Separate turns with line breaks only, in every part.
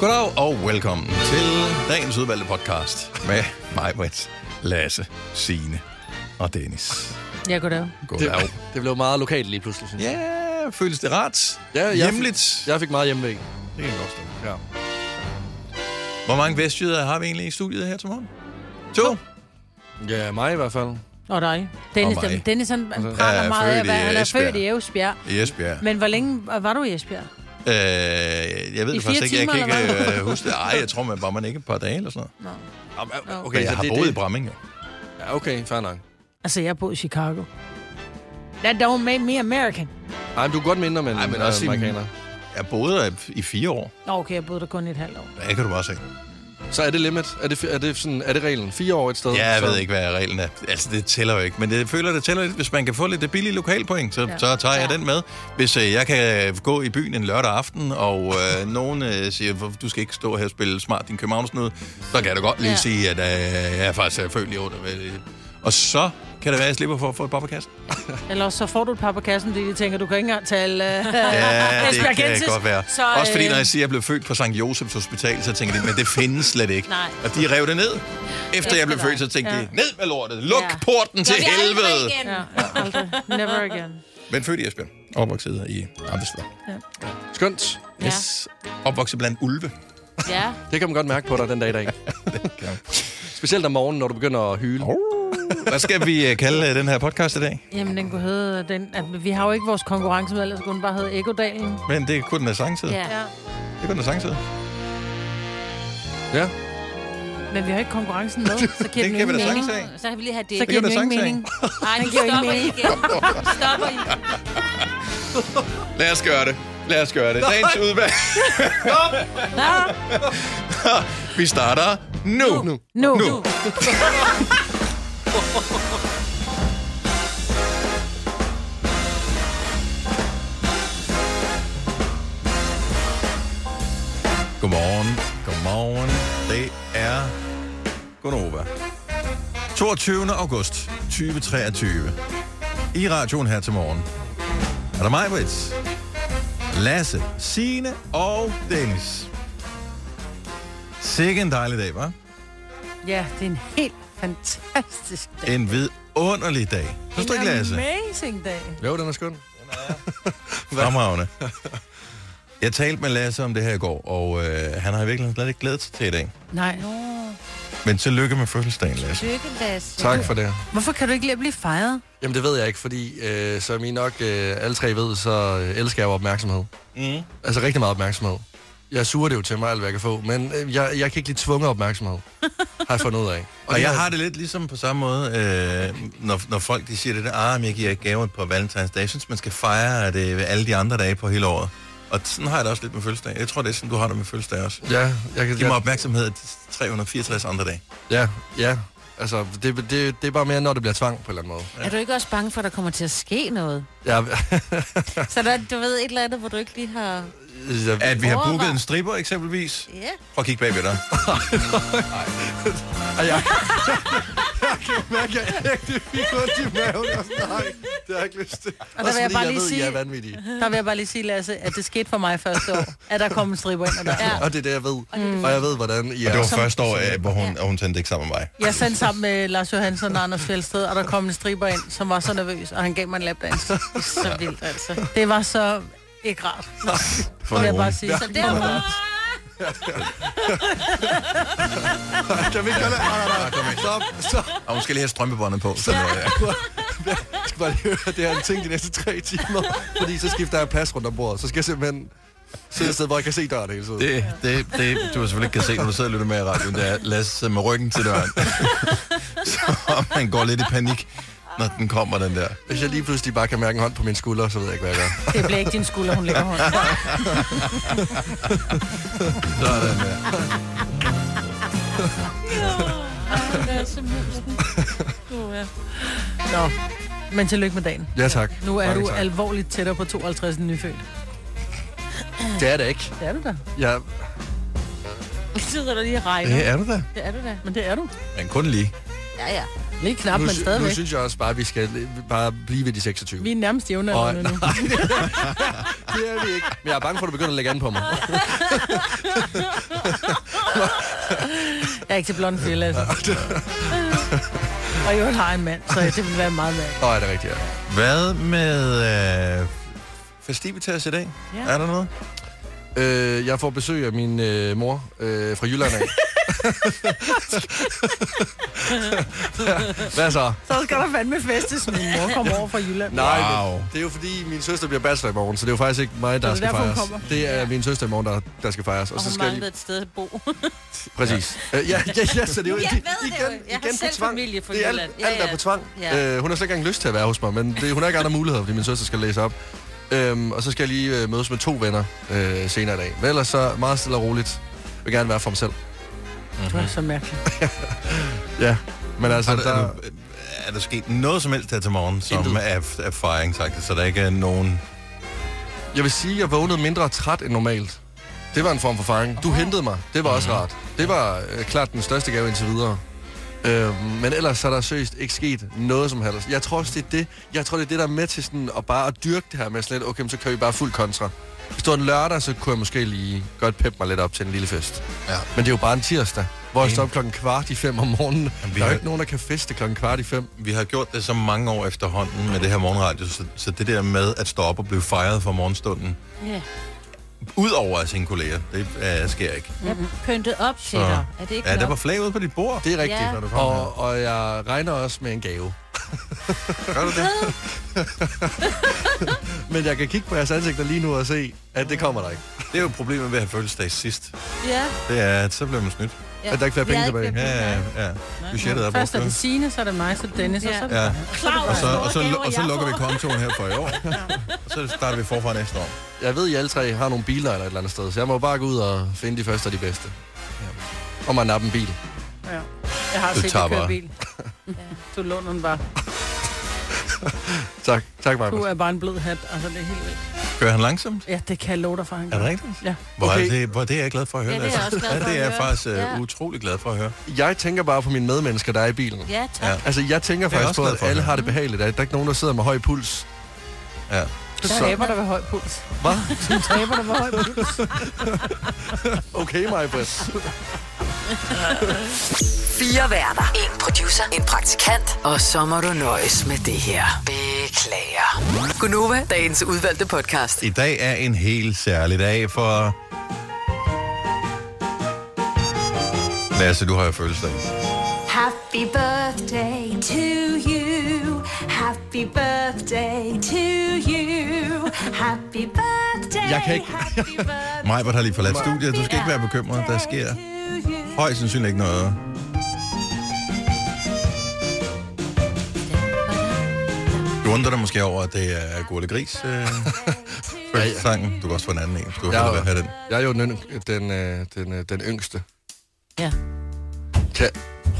Goddag og velkommen til dagens udvalgte podcast med mig, Britt, Lasse, Signe og Dennis.
Ja, goddag.
Goddag.
Det, det blev meget lokalt lige pludselig, synes jeg.
Ja, føles det rart?
Ja, jeg-
Hjemligt?
Jeg fik meget hjemmevæg.
Det kan jeg godt stå.
Ja.
Hvor mange vestjyder har vi egentlig i studiet her til morgen? To?
ja, mig i hvert fald.
Og dig. Dennis,
Og mig.
dem- Dennis han han
Ja,
praler meget af,
født i
hvad han er
Esbjerg.
født i Esbjerg.
I Esbjerg.
Men hvor længe var du i Esbjerg?
Øh, jeg ved
I
det faktisk
fire
ikke. Jeg kan
timer,
ikke
eller hvad?
øh, huske det. Ej, jeg tror, man var man ikke et par dage eller sådan noget.
Nå.
øh, Okay,
Okay, jeg har boet i Bramming, jo.
Ja, okay, fair nok.
Altså, jeg boede i Chicago. That don't make me American.
Ej, men du er godt mindre, men,
Ej, men
øh,
også i-
amerikaner.
Jeg boede øh, i fire år.
Nå, okay, jeg boede der kun et halvt år.
Der kan du bare se.
Så er det limit? Er det, er det, sådan, er det reglen? Fire år et sted?
Ja, jeg
så...
ved ikke, hvad reglen er. Altså, det tæller jo ikke. Men jeg føler, det tæller lidt. Hvis man kan få lidt billige lokalpoint, så, ja.
Ja.
så tager jeg
Ja.
den med. Hvis øh, jeg kan gå i byen en lørdag aften, og øh, nogen øh, siger, "Hvor- du skal ikke stå her og spille smart din københavnsnud, så kan du godt lige ja.
Ja.
sige, at øh, jeg er faktisk er født i under. Og så kan det være, at jeg slipper for at få et papperkast.
Eller også så får du et par på kassen, fordi de tænker, du kan ikke engang tale... Uh,
Ja, det kan
Esbjergensis.
godt være. Så,
Så,
Også fordi,
øh,
når jeg siger, at jeg blev født på St. Josefs Hospital, så tænker de, men det findes slet ikke.
Nej.
Og de rev det ned. Efter jeg blev
dig.
født, så tænkte
Ja.
de, ned med lortet, luk
Ja.
porten til
vi aldrig
helvede.
igen.
Ja, aldrig. Never again.
Men født i Esbjerg. Opvokset i Amtesvær.
Skønt.
Yes. Opvokset blandt ulve.
Ja.
Det kan man godt mærke på dig den dag i dag.
kan.
Specielt om morgenen, når du begynder at hyle.
Hvad skal vi øh, kalde øh, den her podcast i dag?
Jamen, den kunne hedde... Den, at vi har jo ikke vores konkurrence med, ellers kunne den bare hedde Ekodalen.
Men det kunne den have sangtid.
ja.
Ja.
Det kunne den have sangtid.
Ja.
Men vi har ikke konkurrencen med, så giver
Det
den
kan vi
ingen
da
mening.
sagtens have.
Så kan vi lige have det.
Så
kan
giver den
vi
jo
da
ingen
sagtens have.
Ej,
mening.
nu
giver
stopper I
ingen
igen. Stopper I.
Lad os gøre det. Lad os gøre det. Dagens udvalg. vi starter nu. nu.
Nu.
Nu.
nu.
Godmorgen. Godmorgen. Det er Gonova. 22. august 2023. I radioen her til morgen. Er der mig, Brits? Lasse, Signe og Dennis. Sikke en dejlig dag, var?
Ja, det er en helt fantastisk dag.
En vidunderlig dag. Synes du ikke, Lasse?
amazing dag.
Jo, den er skøn.
Fremragende. Jeg talte med Lasse om det her i går, og øh, han har i virkeligheden slet ikke glædet sig til i dag.
Nej.
Men tillykke med fødselsdagen, Lasse.
Lykke, Lasse.
Tak for det.
Hvorfor kan du ikke lide at blive fejret?
Jamen, det ved jeg ikke, fordi øh, som I nok øh, alle tre ved, så øh, elsker jeg jo opmærksomhed.
Mm.
Altså rigtig meget opmærksomhed. Jeg suger det jo til mig, alt hvad jeg kan få, men øh, jeg, jeg kan ikke lide tvunget opmærksomhed. Har jeg fundet ud af.
Og jeg har det lidt ligesom på samme måde, øh, når, når folk de siger det der, ah, men jeg giver ikke gaver på valentinsdag. Jeg synes, man skal fejre det ved alle de andre dage på hele året. Og sådan har jeg det også lidt med fødselsdag. Jeg tror, det er sådan, du har det med fødselsdag også.
Ja, jeg kan...
Giv mig opmærksomhed de 364 andre dage.
Ja, ja. Altså, det, det, det er bare mere, når det bliver tvang på en eller anden måde.
Er du ikke også bange for, at der kommer til at ske noget?
Jeg,
Så der, du ved et eller andet, hvor du ikke lige har...
jeg,
At vi har
Overvej.
booket en stripper eksempelvis.
Ja.
Prøv at kigge bagved dig.
jeg, jeg, kan mærke, at jeg ægte fik ondt i maven. Og sådan, nej, det har jeg ikke lyst til. Og
vil jeg bare lige
ved,
sige-
I er vanvittige.
Der vil jeg bare lige sige, Lasse, at det skete for mig første år, at der kom en striber ind ad døren.
Og det er det, jeg ved. Og jeg ved, hvordan I
Og
er.
det var første år, øh, hvor hun, og hun tændte ikke sammen med mig.
Jeg sendte sammen med Lars Johansson og Anders Fjeldsted, og der kom en striber ind, som var så nervøs, og han gav mig en lapdans. Så vildt, altså. Det var så ikke rart,
For
vil jeg
nogen.
bare sige. Så derfor...
Kan vi ikke gøre det? Nej, nej, nej. Stop, stop.
Og hun skal lige have strømpebåndet på. Så, ja.
Jeg skal bare lige høre, at det her er en ting de næste tre timer. Fordi så skifter jeg plads rundt om bordet. Så skal jeg simpelthen sidde et sted, hvor jeg kan se døren hele tiden.
Det, det, det, du har selvfølgelig ikke kan se, når du sidder og lytter med i radioen, det er Lasse sidder med ryggen til døren. så man går lidt i panik, når den kommer, den der.
Hvis jeg lige pludselig bare kan mærke en hånd på min skulder, så ved jeg ikke, hvad jeg gør.
Det bliver ikke din skulder, hun lægger hånden.
Sådan der.
Nå. Men tillykke med dagen.
Ja, tak.
Nu er
Mange
du
tak.
alvorligt tættere på 52 end nyfødt.
Det er det ikke.
Det er du da.
Jeg...
Nu sidder der lige og regner.
Det er du da.
Det er du da.
Men det er du.
Men kun lige.
Ja, ja.
Lige knap,
nu,
men
sy- nu
stadigvæk.
synes jeg også bare, at vi skal li- bare blive ved de 26.
Vi er nærmest jævne
Og-
nu.
Det er vi ikke. Men jeg er bange for, at du begynder at lægge an på mig.
Jeg er ikke til blond fælde, altså. Og i øvrigt har jeg en mand, så det ville være meget mærkeligt.
Nå, er det rigtigt, ja.
Hvad med øh, festivitas i dag?
Ja.
Er der noget?
Øh, jeg får besøg af min øh, mor øh, fra Jylland af. Hvad så?
Så skal der fandme fest, hvis min mor kommer over fra Jylland.
Nej,
Wow.
men det er jo fordi, min søster bliver bachelor i morgen, så det er jo faktisk ikke mig, der
det er
skal
derfor, hun
fejres.
kommer.
Det er min søster i morgen, der, der skal fejres.
Og
så
hun
skal jeg
manglede et sted at bo.
Præcis. Ja. Øh, ja, ja, ja, så det er jo
Jeg
igen,
ved det jo.
igen,
Jeg har
igen på
selv
tvang.
familie fra
det er alt,
Jylland. Ja,
alt er
ja.
på tvang.
Ja.
Øh, hun har slet ikke engang lyst til at være hos mig, men det, hun har ikke andre muligheder, fordi min søster skal læse op. Øhm, og så skal jeg lige øh, mødes med to venner øh, senere i dag. Men ellers så meget stille og roligt. Jeg vil gerne være for mig selv.
Du er Mm-hmm. så mærkelig.
Ja, men altså,
Er der,
der,
er, der, er der sket noget som helst her til morgen, som
Intet.
er, er fejring, sagt, så der ikke er nogen...
jeg vil sige, at jeg vågnede mindre træt end normalt. Det var en form for faring. Du hentede mig. Det var
Mhm.
også rart. Det var øh, klart den største gave indtil videre. Øh, men ellers så er der seriøst ikke sket noget som helst. Jeg tror også, det er det, jeg tror, det, er det der er med til sådan at bare at dyrke det her med slet, okay, men så kører vi bare fuld kontra. Hvis det var en lørdag, så kunne jeg måske lige godt peppe mig lidt op til en lille fest.
Ja.
Men det er jo bare en tirsdag, hvor jeg står op klokken kvart i fem om morgenen.
Jamen, vi
der er
har-
jo ikke nogen, der kan feste klokken kvart i fem.
Vi har gjort det så mange år efterhånden med det her morgenradio, så, så det der med at stå op og blive fejret for morgenstunden,
Ja.
udover af sine kolleger, det øh, sker ikke.
Jeg pyntede Mm-hmm. op til
Så-
dig. Er det ikke
Ja, der
nok?
var flag ude på dit bord.
Det er rigtigt.
Ja. Når
du
Ja.
kommer
Og, og jeg regner også med en gave.
Gør du det?
Men jeg kan kigge på jeres ansigter lige nu og se, at det kommer der ikke.
Det er jo problemet ved at have fødselsdag sidst.
Ja.
Det er, at så bliver man snydt.
ja.
At der ikke flere
Vi
penge
havde
tilbage.
ikke flere
Ja,
penge, nej.
ja, ja. Budgettet er brugt.
Først er det
ikke?
Signe, så er det mig, så er det Dennis, og så er det...
Ja.
Claus,
Og så, og, så,
hvor
og så
gaver
lukker vi
jeg får.
kontoen her for i år. Og så starter vi forfra næste år.
Jeg ved, at I alle tre har nogle biler eller et eller andet sted, så jeg må bare gå ud og finde de første og de bedste. Og man nappe en bil.
Ja. Jeg har
Du
set
tager
dig køre
bare.
bil. Du låner den bare.
Tak, tak
Du
Markus.
er bare en blød hat, altså det er helt vildt.
Kører han langsomt?
Ja, det kan jeg love dig for, han
Er det
gør.
rigtigt?
Ja.
Hvor, okay.
Okay.
er det, hvor det er jeg glad for at høre.
Ja, det er jeg også glad for
ja, det
at
er jeg
høre.
faktisk uh,
Ja.
utrolig glad for at høre.
Jeg tænker bare på mine medmennesker, der er i bilen.
Ja,
Ja.
tak.
Altså, jeg tænker
Det er jeg
faktisk
også
på,
glad
at
for at
alle
høre.
har det behageligt. At der er ikke nogen, der sidder med høj puls.
Ja.
Du
Så,
taber dig ved høj puls.
hvad?
Du taber dig ved høj puls.
Okay, mig, Britt.
Fire værter. En producer. En praktikant. Og så må du nøjes med det her. Beklager. Gunova, dagens udvalgte podcast.
I dag er en helt særlig dag for... Lasse, du har jo fødselsdag.
Happy birthday to you. Happy birthday to you. Happy birthday.
Jeg kan ikke-
happy birthday
Majbert har lige forladt studiet. Du skal ikke være bekymret. Der sker
to you.
højst sandsynligt ikke noget. Du undrer dig måske over, at det er Gurle Gris øh, fødselsdagen. Du kan også få en anden en. Du kan
Jeg,
hellere have den.
jeg er jo den, yng- den, øh, den, øh, den yngste.
Ja.
Kan...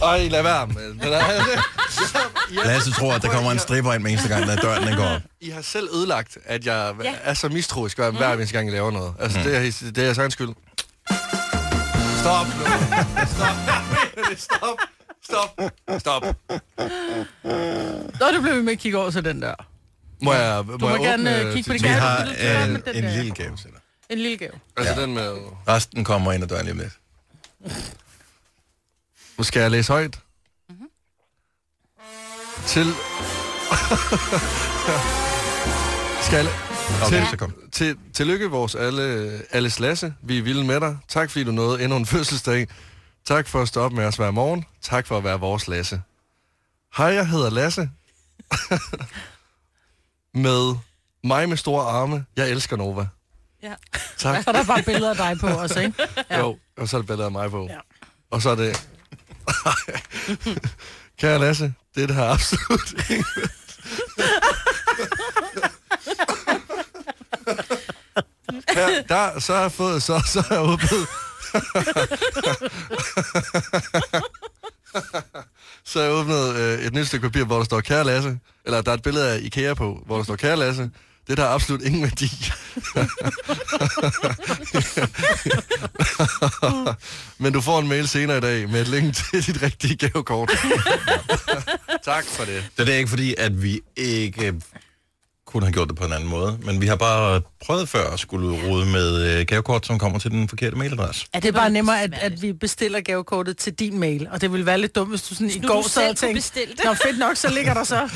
Ej, lad være med. den er-
Lasse tror, at der kommer en stripper ind med eneste gang, når døren den går op.
I har selv ødelagt, at jeg
Ja.
er så mistroisk hver, hver eneste gang, jeg laver noget. Altså, det, er, det er jeres egen skyld. Stop nu. Stop. Stop. Stop. Stop.
Nå, det blev vi med at kigge over til den der.
Må jeg, må
Du må
jeg
gerne
åbne,
øh, kigge på det.
Vi
Kan du-
har
vil du gøre med
øh,
den
en
der?
lille gave til dig.
En lille gave.
Altså, den med...
Resten kommer ind ad døren lige om lidt.
Nu skal jeg læse højt. Til... skal
Okay,
til,
så kom.
til, tillykke vores alle, alles Lasse. Vi er vilde med dig. Tak fordi du nåede endnu en fødselsdag. Tak for at stå op med os hver morgen. Tak for at være vores Lasse. Hej, jeg hedder Lasse. med mig med store arme. Jeg elsker Nova.
Ja.
Tak.
Så er der bare billeder af dig på også, ikke?
Ja. Jo, og så er det billeder af mig på.
Ja.
Ja. Og så er det... Kære Lasse, det er det her absolut ikke. Her, der, så har jeg fået, så, så har jeg åbnet... så har jeg åbnet øh, et nyt stykke papir, hvor der står, kære Lasse, eller der er et billede af Ikea på, hvor der står, kære Lasse, det der har absolut ingen værdi. Men du får en mail senere i dag med et link til dit rigtige gavekort. tak for det.
Så det er ikke fordi, at vi ikke kunne have gjort det på en anden måde, men vi har bare prøvet før at skulle rode med øh, gavekort, som kommer til den forkerte mailadresse.
Ja, det er bare nemmere, at, at vi bestiller gavekortet til din mail. Og det ville være lidt dumt, hvis du sådan i
Nu
går
du
sad
selv
og
kunne
tænkte,
bestille det.
Nå, fedt nok, så ligger der så.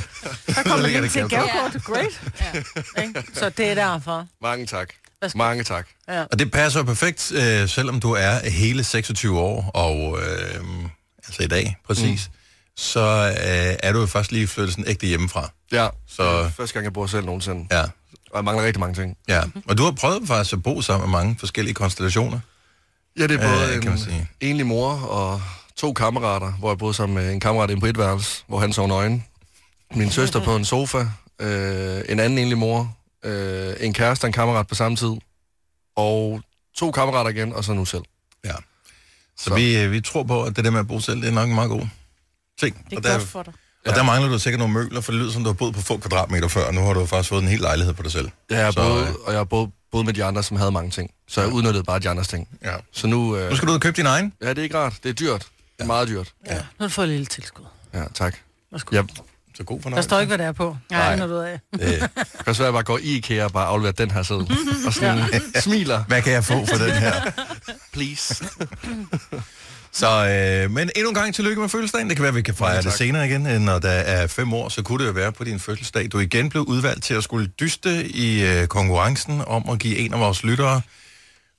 Der kommer
ligger
lige
det
til et
gavekort.
gavekort. Great. Ja. Ikke? Så det er derfor.
Mange tak.
Værsgo.
Mange tak.
Ja.
Og det passer jo perfekt, øh, selvom du er hele 26 år, og øh, altså i dag præcis, mm. så øh, er du jo først lige flyttet sådan ægte hjemmefra.
Ja,
Så-
så... første gang, jeg bor selv nogensinde.
Ja,
Og jeg mangler rigtig mange ting.
ja. Og du har prøvet faktisk at bo sammen med mange forskellige konstellationer.
Ja, det er både
Øh,
øh,
kan man sige.
en enlig mor og to kammerater, hvor jeg boede sammen med en kammerat inde på et værelse, hvor han sov nøgen. Min søster på en sofa, øh, en anden enlig mor, øh, en kæreste og en kammerat på samme tid, og to kammerater igen, og så nu selv.
Ja. Så, så.
Så.
Vi, øh, vi tror på, at det der med at bo selv, det er nok en meget god ting.
Det er
og
godt
der,
for dig.
og der mangler du sikkert nogle møbler, for det lyder som, du har boet på få kvadratmeter før, og nu har du faktisk fået en hel lejlighed på dig selv.
Ja, jeg
Så,
så, boede, og jeg boede, boede med de andre, som havde mange ting, så jeg udnyttede bare de andres ting.
Ja.
Så nu... Øh,
Nu skal du ud og købe din egen.
Ja, det er ikke rart. Det er dyrt. Det er meget dyrt.
Ja. Nu har du fået et lille tilskud.
Ja, tak.
Værsgo.
Jeg
Så god
Der
fornøjelse.
står ikke, hvad det er på.
Nej.
Nej. Når du af.
Øh,
kan også være, at jeg bare går i IKEA og bare afleverer den her sæde. Og sådan smiler.
hvad kan jeg få for den her?
Please.
Så, øh, men endnu en gang tillykke med fødselsdagen. Det kan være, at vi kan fejre det senere igen. Øh, Når der er fem år, så kunne det jo være på din fødselsdag. Du igen blev udvalgt til at skulle dyste i øh, konkurrencen om at give en af vores lyttere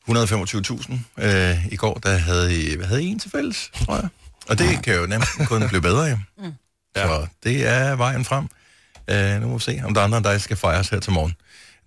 125.000. Øh, I går, der havde I, hvad havde I en til fælles, tror jeg. Og det kan jo nemt kun blive bedre, jo. Ja. Så det er vejen frem. Øh, nu må vi se, om der er andre end dig, der skal fejres her til morgen.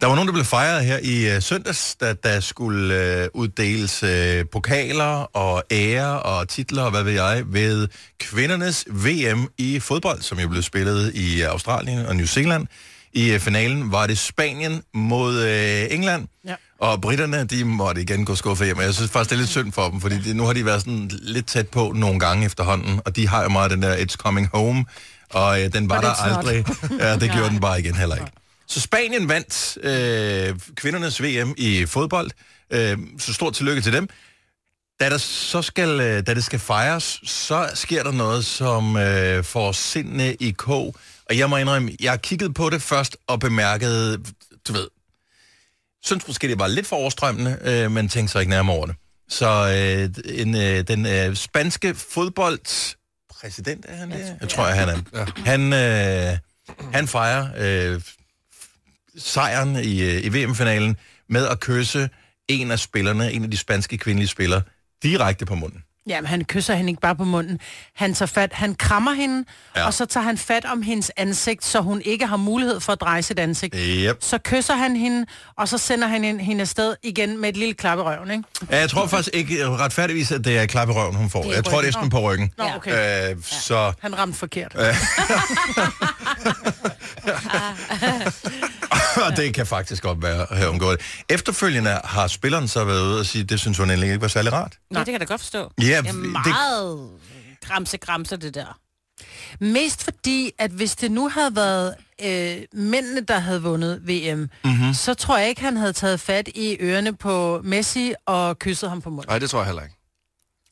Der var nogen, der blev fejret her i øh, søndags, da der skulle øh, uddeles øh, pokaler og ære og titler og hvad ved jeg, ved kvindernes VM i fodbold, som jo blev spillet i øh, Australien og New Zealand. I øh, finalen var det Spanien mod øh, England,
Ja.
og britterne, de måtte igen gå skuffet hjem. Og Jeg synes faktisk, det er lidt synd for dem, fordi de, nu har de været sådan lidt tæt på nogle gange efterhånden, og de har jo meget den der It's Coming Home, og øh, den var
Og det
der
er snot.
aldrig. Ja, det gjorde den bare igen heller ikke. Så Spanien vandt øh, kvindernes VM i fodbold, øh, så stort tillykke til dem. Da, der så skal, øh, da det skal fejres, så sker der noget, som øh, får sindene i kog. Og jeg må indrømme, jeg kiggede på det først og bemærkede, du ved, synes måske, det var lidt for overstrømmende, øh, men tænkte så ikke nærmere over det. Så øh, en, øh, den øh, spanske fodboldpræsident, er han det? Jeg tror, jeg, han er. Han, øh, han fejrer øh, sejren i, øh, i VM-finalen med at kysse en af spillerne, en af de spanske kvindelige spillere, direkte på munden.
Jamen, han kysser hende ikke bare på munden. Han tager fat, han krammer hende,
Ja.
ja. og så tager han fat om hendes ansigt, så hun ikke har mulighed for at dreje sit ansigt.
Yep.
Så kysser han hende, og så sender han hende- hende afsted igen med et lille klap i røven, ikke?
Ja, Jeg tror faktisk ikke øh, retfærdigvis, at det er klap i røven, hun får.
er
Jeg tror, det er
ryggen.
sådan på ryggen.
Nå, okay.
Øh, så...
Han ramte forkert.
Og det kan faktisk godt være at have undgået det. Efterfølgende har spilleren så været ude og sige, det synes hun egentlig ikke var særlig rart.
Nå, det kan jeg da godt forstå.
Ja,
det er
det-
meget gramse-gramse, det der.
Mest fordi, at hvis det nu havde været øh, mændene, der havde vundet VM,
Mhm.
mm-hmm. så tror jeg ikke, han havde taget fat i ørerne på Messi og kysset ham på munden.
Nej, det tror jeg heller ikke.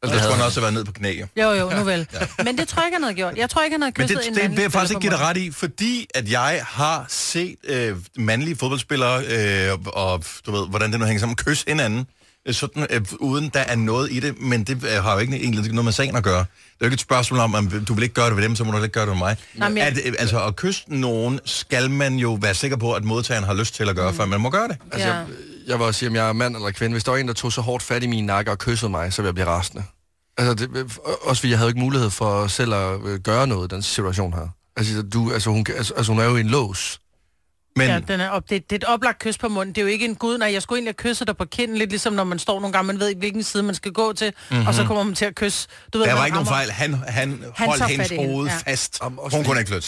Altså, der skulle hun også have været ned på knæ. jo.
Jo, jo, nu vel. Men det tror jeg ikke, han havde gjort. Jeg tror ikke, han havde
Men
kysset
det,
en
det, det
anden
vil jeg faktisk
spiller
ikke
på
give dig
munden.
ret i, fordi at jeg har set øh, mandlige fodboldspillere, øh, og du ved, hvordan det nu hænger sammen, kysse hinanden, øh, sådan, øh, uden der er noget i det, men det øh, har jo ikke egentlig ikke noget med sagen at gøre. Det er jo ikke et spørgsmål om, om du vil ikke gøre det ved dem, så må du heller ikke gøre det ved mig.
Nej, men jeg-
at, øh, altså, at kysse nogen skal man jo være sikker på, at modtageren har lyst til at gøre, mm. før man må gøre det.
Altså,
Ja.
jeg, jeg vil også sige, om jeg er mand eller kvinde. Hvis der var en, der tog så hårdt fat i min nakke og kyssede mig, så ville jeg blive rasende. Altså, det, også fordi jeg havde ikke mulighed for selv at øh, gøre noget i den situation her. Altså, du, altså, hun, kan- altså, altså, hun er jo i en lås.
Men,
Ja, den er op, det, det er et oplagt kys på munden. Det er jo ikke en gud, nej, jeg skulle egentlig kysse dig på kinden, lidt ligesom når man står nogle gange, man ved ikke, hvilken side man skal gå til, mm-hmm. og så kommer man til at kysse. Du ved,
Mhm. Der
man
var ikke nogen
rammer-
fejl. Han, han, han
Han
holdt
tager
hendes
fat i hende,
hoved
ja.
fast.
Jamen, også
Hun
fordi-
kunne ikke flytte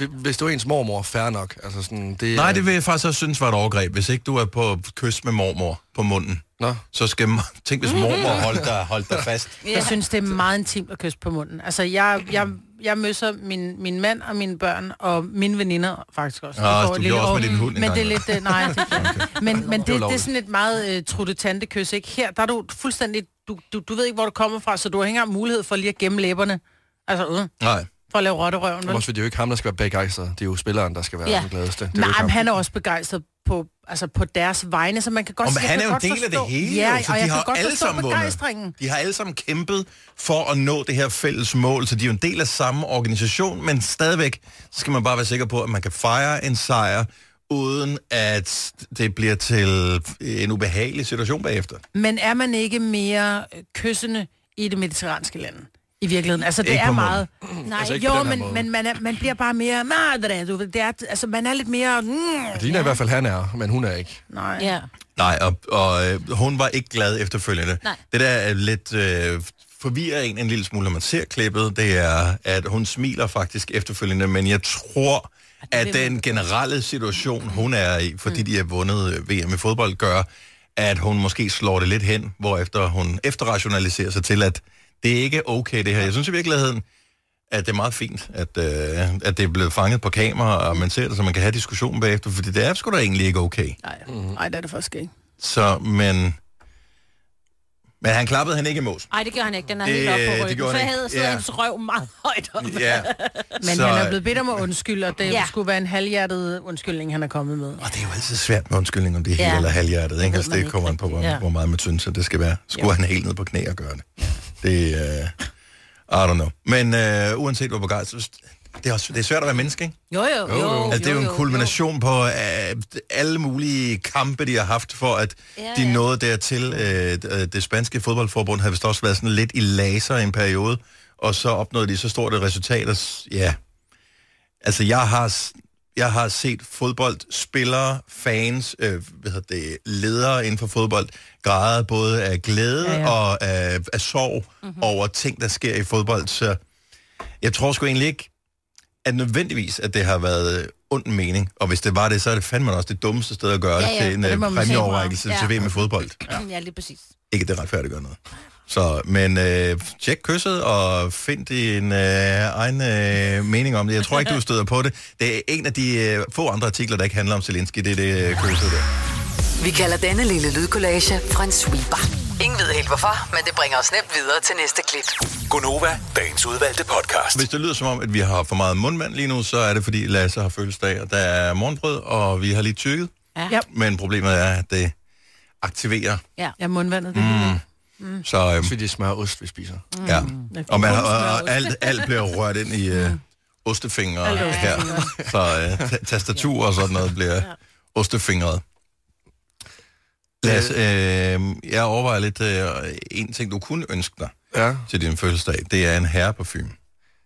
sig.
Hvis det var ens mormor, fair nok. Altså, sådan, det,
Nej, det vil jeg faktisk også synes var et overgreb. Hvis ikke du er på kys med mormor på munden,
Nå.
så skal man... Tænk, hvis mormor holdt dig, holdt dig fast.
Jeg synes, det er meget intimt at kysse på munden. Altså, jeg, jeg, jeg møsser min, min mand og mine børn og mine veninder faktisk også.
Ah,
Det
så
går
du
et
gjorde også
år.
med din hund
Men
engang,
det er lidt...
eller?
øh, Nej, det gjorde jeg ikke. Men, men det, det, er
ulovligt.
sådan et meget uh, trutte tante kys, ikke? Her, der er du fuldstændig... Du, du, du ved ikke, hvor du kommer fra, så du har ikke engang mulighed for lige at gemme læberne. Altså, øh,
Nej.
for at lave rotterøven.
Også fordi det er jo ikke ham, der skal være begejstret. Det er jo spilleren, der skal være ja. den gladeste. Det er jo
Nej,
ikke
men
ham.
han er også begejstret på, altså på deres vegne, så man kan godt
Og
sige,
men
jeg
Han
kan
er jo en
godt
del af det
forstå-
hele,
ja,
jo, så
og
de
jeg
har
kan godt
alle
forstå
sammen
begejstringen.
vundet. De har alle sammen kæmpet for at nå det her fælles mål, så de er jo en del af samme organisation, men stadigvæk så skal man bare være sikker på, at man kan fejre en sejr, uden at det bliver til en ubehagelig situation bagefter.
Men er man ikke mere øh, kyssende i det mediterranske land? I virkeligheden. Altså, det
Ikke
er
på
meget...
munden.
Nej,
Altså, ikke på
jo,
den her
men,
måde.
men man, er, man bliver bare mere... Nej, det er, du, ved, det er, altså, man er lidt mere... Mm,
Det ligner i hvert fald, han er, men hun er ikke.
nej.
Ja.
Nej, og, og øh, hun var ikke glad efterfølgende.
Nej.
Det der er lidt øh, forvirrer en en lille smule, når man ser klippet, det er, at hun smiler faktisk efterfølgende, men jeg tror, at den generelle situation, hun er i, fordi de har vundet øh, VM i fodbold, gør, at hun måske slår det lidt hen, hvorefter hun efterrationaliserer sig til, at det er ikke okay det her. Jeg synes i virkeligheden, at det er meget fint, at, øh, at det er blevet fanget på kamera, og man ser det, så man kan have diskussionen bagefter, fordi det er sgu da egentlig ikke okay.
Nej, det er det faktisk ikke.
Så, men... Men han klappede han ikke i mos.
Nej, det gjorde han ikke. Den er
Det-
helt oppe på
det
ryggen.
gjorde
for
han
jeg
ikke.
havde siddet
Ja.
hans røv meget højt op.
Ja.
Men
Så-
så... han er blevet bedt om at undskylde, og det ja.
Ja.
skulle være en halvhjertet undskyldning, han er kommet med.
Og det er jo altid svært med undskyldning, om det er helt
Ja.
ja. eller halvhjertet. Ikke?
ved
Altså,
man
det
ikke
kommer an på, hvor,
rigtigt.
ja.
Ja.
hvor meget man synes, at det skal være. Skulle han helt ned på knæ og gøre det? Det er... Uh, I don't know. Men øh, uanset hvor begejstret... så- Det er, også, det er svært at være menneske, ikke?
Jo, jo, jo. jo.
altså, det er jo
jo,
en kulmination på øh, alle mulige kampe, de har haft for, at
Ja,
de
ja.
nåede dertil. Øh, øh, det spanske fodboldforbund havde vist også været sådan lidt i laser i en periode, og så opnåede de så stort et resultat. Og, s- ja, altså jeg har, s- jeg har set fodboldspillere, fans, øh, hvad hedder det, ledere inden for fodbold, græde både af glæde ja,
Ja,
ja.
ja.
og af, af sorg
Mhm.
mm-hmm. over ting, der sker i fodbold. Så jeg tror sgu egentlig ikke, at nødvendigvis, at det har været ond mening. Og hvis det var det, så er det fandme også det dummeste sted at gøre ja,
Ja,
ja.
ja.
til en
Ja, det må
øh,
man sige.
præmieoverrækkelse ja.
Ja.
til VM i fodbold.
Ja, lige præcis.
Ikke, at det retfærdiggør noget. Så, men øh, tjek kysset og find din øh, egen øh, mening om det. Jeg tror ikke, du støder på det. Det er en af de øh, få andre artikler, der ikke handler om Zelensky. Det er det øh, kysset der.
Vi kalder denne lille lydkollage Frans sweeper. Ingen ved helt hvorfor, men det bringer os nemt videre til næste klip.
Gunova, dagens udvalgte podcast.
Hvis det lyder som om, at vi har for meget mundvand lige nu, så er det fordi Lasse har fødselsdag, og der er morgenbrød, og vi har lige tykket.
Ja.
Men problemet er, at det aktiverer
Ja, ja mundvandet, det
Mm.
Mm.
Så, øhm,
Fordi det smager ost, vi spiser.
Mm. Ja. Og, man, og, og alt, alt bliver rørt ind i øh, ostefingre
Alt er
her. Så øh, ta- tastatur og sådan noget bliver ostefingret. Lad os, øh, jeg overvejer lidt øh, en ting, du kunne ønske dig
ja.
til din fødselsdag. Det er en herreparfume.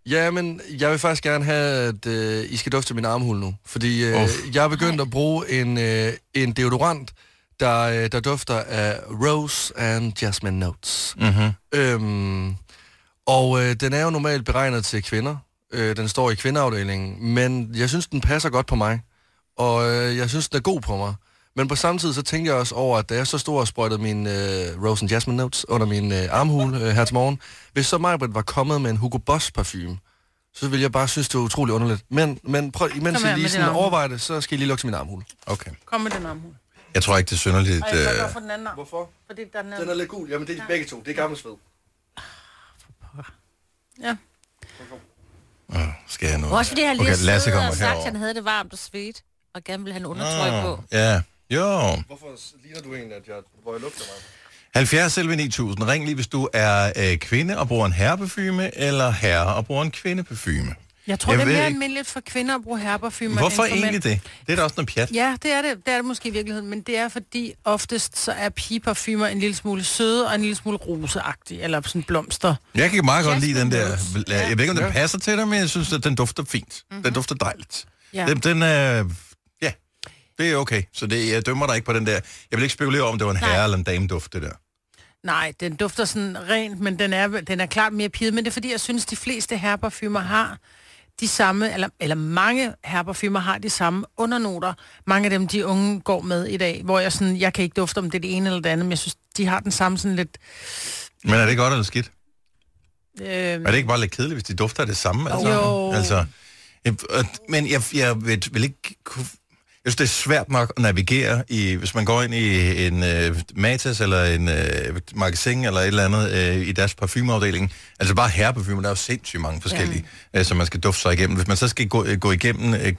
Ja, men jeg vil faktisk gerne have, at øh, I skal dufte min armhul nu. Fordi øh,
Uff.
jeg er begyndt at bruge en, øh, en deodorant, der, øh, der dufter af rose and jasmine notes.
Mm-hmm.
Øhm, og øh, den er jo normalt beregnet til kvinder. Øh, den står i kvindeafdelingen. Men jeg synes, den passer godt på mig. Og øh, jeg synes, den er god på mig. Men på samme tid, så tænkte jeg også over, at da jeg så stod og sprøjtede min øh, Rose and Jasmine Notes under min øh, armhul øh, her til morgen, hvis så Majbrit var kommet med en Hugo Boss parfume, så ville jeg bare synes, det var utrolig underligt. Men, men prøv, imens
Kom her
I
med
lige
din
sådan
armhul.
overvejer det, så skal I lige lukke til min armhul.
Okay.
Kom med den armhul.
Jeg tror ikke, det er synderligt.
Ej, jeg
Øh,
for den anden arm.
Hvorfor?
Fordi der er den,
Den er lidt gul. Jamen, det er de begge to. Det er gammel sved.
Ja.
øh, skal jeg nu?
Også fordi han lige
okay,
okay,
Lasse
sidder
kommer
og sagt, at han
herover.
havde det varmt og svedt, og gerne ville have en undertrøj
Åh,
på.
Ja, jo.
Hvorfor ligner du egentlig, at jeg, hvor jeg lugter mig?
70 selv 9000. Ring lige, hvis du er øh, kvinde og bruger en herreparfume, eller herre og bruger en kvindeparfume.
Jeg tror,
Jeg
jeg det er
ved
mere
ikke-
almindeligt for kvinder at bruge herreparfumer.
Hvorfor
end for mænd.
egentlig det? Det er da også noget pjat.
Ja, det er det. Det er det måske i virkeligheden, men det er fordi oftest så er pigeparfumer en lille smule søde og en lille smule roseagtige, eller sådan blomster.
Jeg kan meget godt lide den der. Jeg ved ikke, om den passer til dig, men jeg synes, at den dufter fint. Den dufter dejligt.
Ja.
Den, den er... Ja, det er okay. Så det, jeg dømmer dig ikke på den der. Jeg vil ikke spekulere om, det var en herre eller en dame duft, det der.
Nej, den dufter sådan rent, men den er, den er klart mere piget. Men det er fordi, jeg synes, de fleste herreparfumer har de samme, eller, eller mange herreparfumer har de samme undernoter. Mange af dem, de unge går med i dag, hvor jeg sådan, jeg kan ikke dufte om det er det ene eller det andet, men jeg synes, de har den samme sådan lidt...
Men er det godt eller skidt?
Øhm,
Er det ikke bare lidt kedeligt, hvis de dufter af det samme? Altså,
Jo.
Altså, øh, øh, men jeg, jeg vil, vil ikke kunne... Jeg synes, det er svært nok at navigere i, hvis man går ind i en øh, Matas eller en øh, magasin eller et eller andet øh, i deres parfumeafdeling. Altså bare herreparfumer, der er jo sindssygt mange forskellige, ja. øh, som man skal dufte sig igennem. Hvis man så skal gå, øh, gå igennem øh,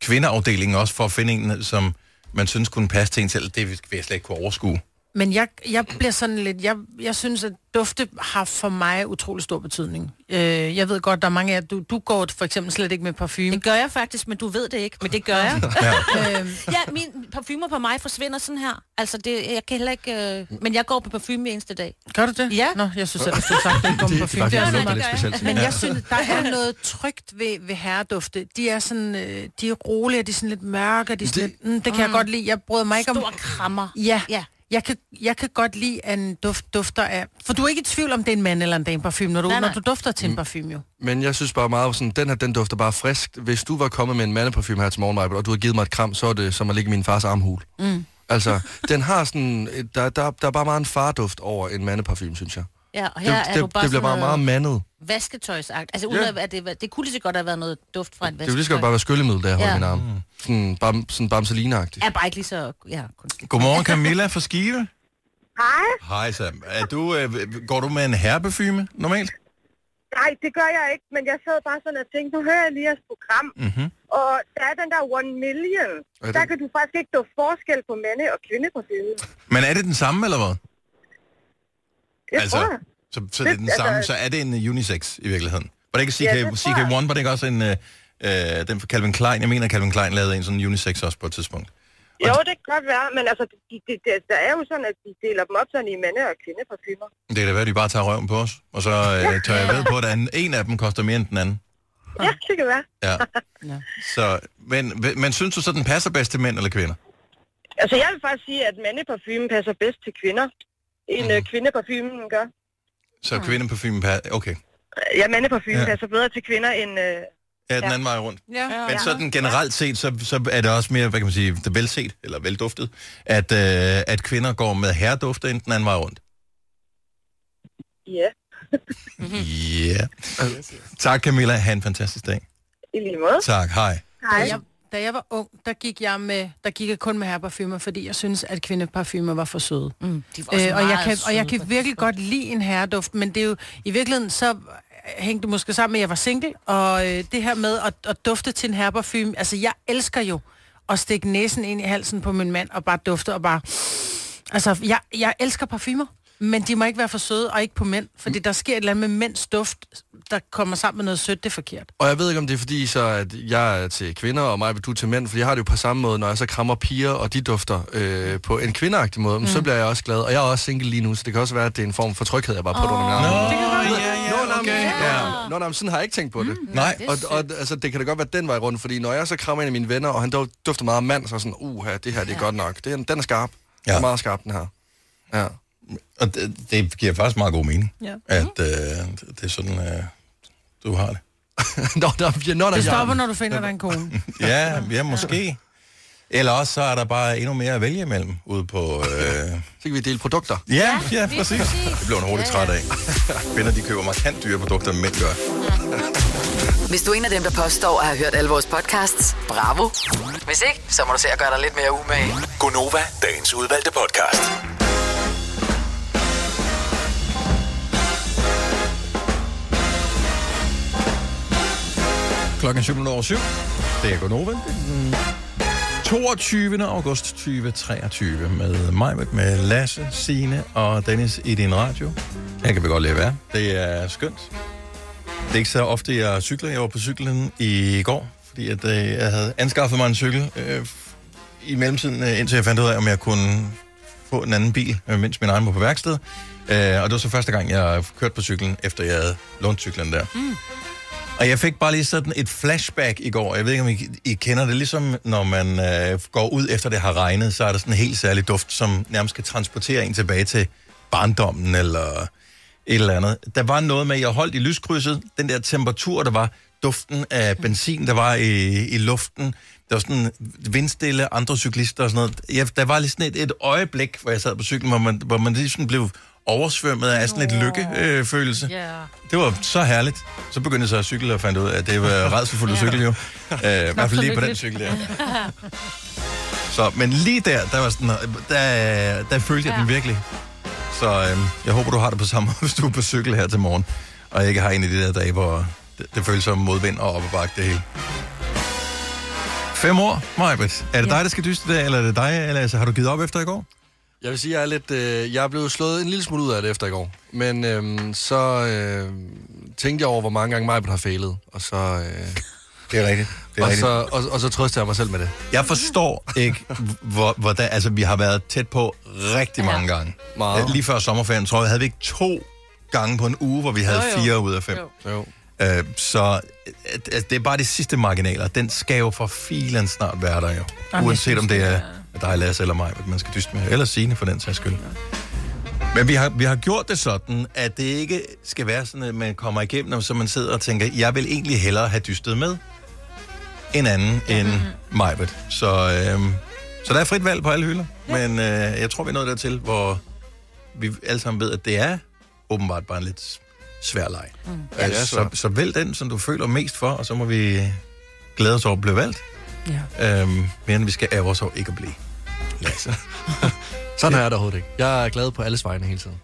kvindeafdelingen også for at finde en, som man synes kunne passe til en selv, det vil jeg slet ikke kunne overskue.
Men jeg, jeg bliver sådan lidt... Jeg, jeg synes, at dufte har for mig utrolig stor betydning. Øh, jeg ved godt, der er mange af jer- du, du går for eksempel slet ikke med parfume.
Det gør jeg faktisk, men du ved det ikke, men det gør jeg. Øhm, ja, min parfumer på mig forsvinder sådan her. Altså, det, jeg kan heller ikke... Øh, men jeg går på parfume hver eneste dag.
Gør du det?
Ja.
Nå, jeg synes selv, at du sagde, at du ikke går med
Det-
parfume.
det er
Det er
faktisk
sådan-
lidt specielt.
Men
Ja.
jeg synes, der er noget trygt ved, ved herredufte. De er sådan... Øh, de er rolige, de er sådan lidt mørke, og de er sådan
Det-
lidt, mm, det kan jeg godt lide. Jeg bryder mig ikke om...
Stor krammer.
Ja.
Ja.
ja. Jeg kan, jeg kan godt lide, at en duft dufter af... For du er ikke i tvivl om, det er en mand eller en dame parfume, når du,
Nej, nej.
Når du dufter
Mm.
til en parfume, jo.
Men jeg synes bare meget, sådan, den her den dufter bare frisk. Hvis du var kommet med en mandeparfume her til morgen, Michael, og du havde givet mig et kram, så er det som at ligge i min fars armhul. Mm. Altså, den har sådan, et- der, der, der er bare meget en farduft over en mandeparfume, synes jeg.
Ja, og her
Det,
det, er
det,
du bare
det bliver bare
sådan
meget
noget
mandet.
vasketøjsagt. Altså, uden
Ja.
at, at det, det kunne lige så godt have været noget duft fra en
Det er jo
vasketøj.
lige så godt bare være skyllemiddel, der jeg holder
Ja. Mm.
min arm. Sådan, bam, sådan bamseline-agtigt.
Er bare ikke lige så... Ja, kunstigt.
Godmorgen Camilla fra Skive.
Hej.
Hej Sam. Er du, øh, går du med en herreparfume normalt?
Nej, det gør jeg ikke, men jeg sad bare sådan og tænkte, nu hører jeg lige jeres program.
Mhm.
Og der er den der one million.
Er det-
Der kan du faktisk ikke dufte forskel på mande- og kvindeparfume.
Men er det den samme, eller hvad?
Jeg
altså,
tror jeg.
så, så det er den
Det-
samme,
altså-
så er det en øh, unisex i virkeligheden. Var det ikke CK,
Ja, det tror jeg.
CK1, var det ikke også en, øh, øh, den fra Calvin Klein? Jeg mener, Calvin Klein lavede en sådan unisex også på et tidspunkt.
Jo, det kan godt være, men altså, de, de, de, der er jo sådan, at de deler dem op sådan i mande- og kvindeparfumer.
Det kan da være, at de bare tager røven på os, og så øh, tør jeg ved på, at den- en af dem koster mere end den anden.
Ja, det kan være.
Ja. Så, men, men synes du så, den passer bedst til mænd eller kvinder?
Altså, jeg vil faktisk sige, at mandeparfumen passer bedst til kvinder, end mm. kvindeparfumen gør.
Så kvindeparfume passer... Okay.
Ja, mandeparfumen
Ja.
ja. passer bedre til kvinder end... Øh,
Ja, den
Ja.
anden vej rundt.
Ja.
Men sådan generelt set, så, så er det også mere, hvad kan man sige, det velset, eller velduftet, at, øh, at kvinder går med herredufte end den anden vej rundt.
ja,
Mhm.
Ja. Tak Camilla, ha' en fantastisk dag.
i lige måde.
Tak, hej.
Hej.
Da jeg, da jeg var ung, der gik jeg, med, der gik jeg kun med herreparfumer, fordi jeg synes at kvindeparfumer var for søde.
Mm, de var også
Øh, og, jeg
meget
kan, og jeg
søde
kan
på
virkelig godt lide en herreduft, men det er jo, i virkeligheden så hængte det måske sammen med, at jeg var single, og øh, det her med at, at dufte til en herreparfume, altså jeg elsker jo at stikke næsen ind i halsen på min mand, og bare dufte, og bare, altså jeg, jeg elsker parfumer, men de må ikke være for søde, og ikke på mænd, fordi
Mm.
der sker et eller andet med mænds duft, der kommer sammen med noget sødt, det er forkert.
Og jeg ved ikke, om det er fordi, så at jeg er til kvinder, og mig vil du er til mænd, for jeg har det jo på samme måde, når jeg så krammer piger, og de dufter øh, på en kvindeagtig måde, mm. så bliver jeg også glad. Og jeg er også single lige nu, så det kan også være, at det er en form for tryghed, jeg bare putter under min arm.
Nå, ja, ja, okay. Ja.
Nå, nej, men sådan har jeg ikke tænkt på det.
Mm. Nej,
Og, og altså, det kan da godt være den vej rundt, fordi når jeg så krammer en af mine venner, og han dog- dufter meget af mand, så er jeg sådan, uha, det her, det er godt nok. Det, er- den er skarp. Ja. Den
Ja.
er meget skarp, den her. Ja.
og det, det giver faktisk meget god mening,
Ja. Mhm.
at øh, det er sådan, øh, du har det.
nå, der, ja, nå, der,
Det stopper, når du finder dig en kone.
Ja, ja, måske. Eller også så er der bare endnu mere at vælge imellem ude på... Øh,
Så kan vi dele produkter.
Ja, ja,
lige
præcis.
præcis.
Det blev hun hurtigt træt af. Kvinder, de køber markant dyre produkter, end mænd gør.
Hvis du er en af dem, der påstår at have hørt alle vores podcasts, bravo. Hvis ikke, så må du se at gøre dig lidt mere umage.
Gonova, dagens udvalgte podcast.
Klokken er syv minutter over syv. Det er Gonova. Den 22. august 2023 med mig, med Lasse, Sine og Dennis i din radio. Her kan vi godt lide at være. Det er skønt. Det er ikke så ofte, jeg cykler. Jeg var på cyklen i går, fordi at, øh, jeg havde anskaffet mig en cykel. Øh, I mellemtiden, øh, indtil jeg fandt ud af, om jeg kunne få en anden bil, øh, mens min egen var på værksted. Øh, og det var så første gang, jeg kørte på cyklen, efter jeg havde lånt cyklen der. Og jeg fik bare lige sådan et flashback i går. Jeg ved ikke, om I, I kender det. Ligesom når man øh, går ud efter det har regnet, så er der sådan en helt særlig duft, som nærmest kan transportere en tilbage til barndommen eller et eller andet. Der var noget med, at jeg holdt i lyskrydset. Den der temperatur, der var duften af benzin, der var i, i luften. Der var sådan vindstille, andre cyklister og sådan noget. Jeg, der var lige sådan et, et øjeblik, hvor jeg sad på cyklen, hvor man, hvor man lige sådan blev oversvømmet af sådan lidt lykkefølelse. Øh,
Ja.
det var så herligt. Så begyndte jeg så at cykle og fandt ud af, at det var redselfuldt at cykle jo. Øh, I hvert fald lige på den cykel der. Så, men lige der, der, var sådan, der, der følte jeg den virkelig. Så øhm, jeg håber, du har det på samme måde, hvis du er på cykel her til morgen, og ikke har en af de der dage, hvor det, det føles som modvind og op og bakke det hele. Fem år, Majbet. Er det dig, der skal dyste det, eller er det dig, eller altså, har du givet op efter i går?
Jeg vil sige, jeg er lidt... Øh, jeg blev slået en lille smule ud af det efter i går. Men øhm, så øh, tænkte jeg over, hvor mange gange mig har fejlet. Og så... Øh,
Det er rigtigt. Det er
og,
rigtigt.
så og, og så trøster jeg mig selv med det.
Jeg forstår ikke, hvor, hvordan, altså vi har været tæt på rigtig mange gange.
Meget.
Øh, Lige før sommerferien, tror jeg, havde vi ikke to gange på en uge, hvor vi havde
Jo, jo.
fire ud af fem.
Jo.
Jo.
Øh, så øh, altså, det er bare de sidste marginaler. Den skal jo for filen snart være der jo.
Jamen,
Uanset
jeg
om
synes,
det
det
er dig, Lasse eller mig, man skal dyste med. Eller Signe for den sags skyld. Men vi har, vi har gjort det sådan, at det ikke skal være sådan, at man kommer igennem, og så man sidder og tænker, jeg vil egentlig hellere have dystet med en anden end Majbet. Så, øhm, så der er frit valg på alle hylder. Men øh, jeg tror, vi er nået dertil, hvor vi alle sammen ved, at det er åbenbart bare en lidt svær leg. Mm.
Ja, det er
Altså, så,
svært.
så vælg den, som du føler mest for, og så må vi glæde os over at blive valgt.
Ja.
Øhm, mere end vi skal ære os over ikke at blive. Lasse.
Sådan er det overhovedet ikke. Jeg er glad på alles vegne hele tiden.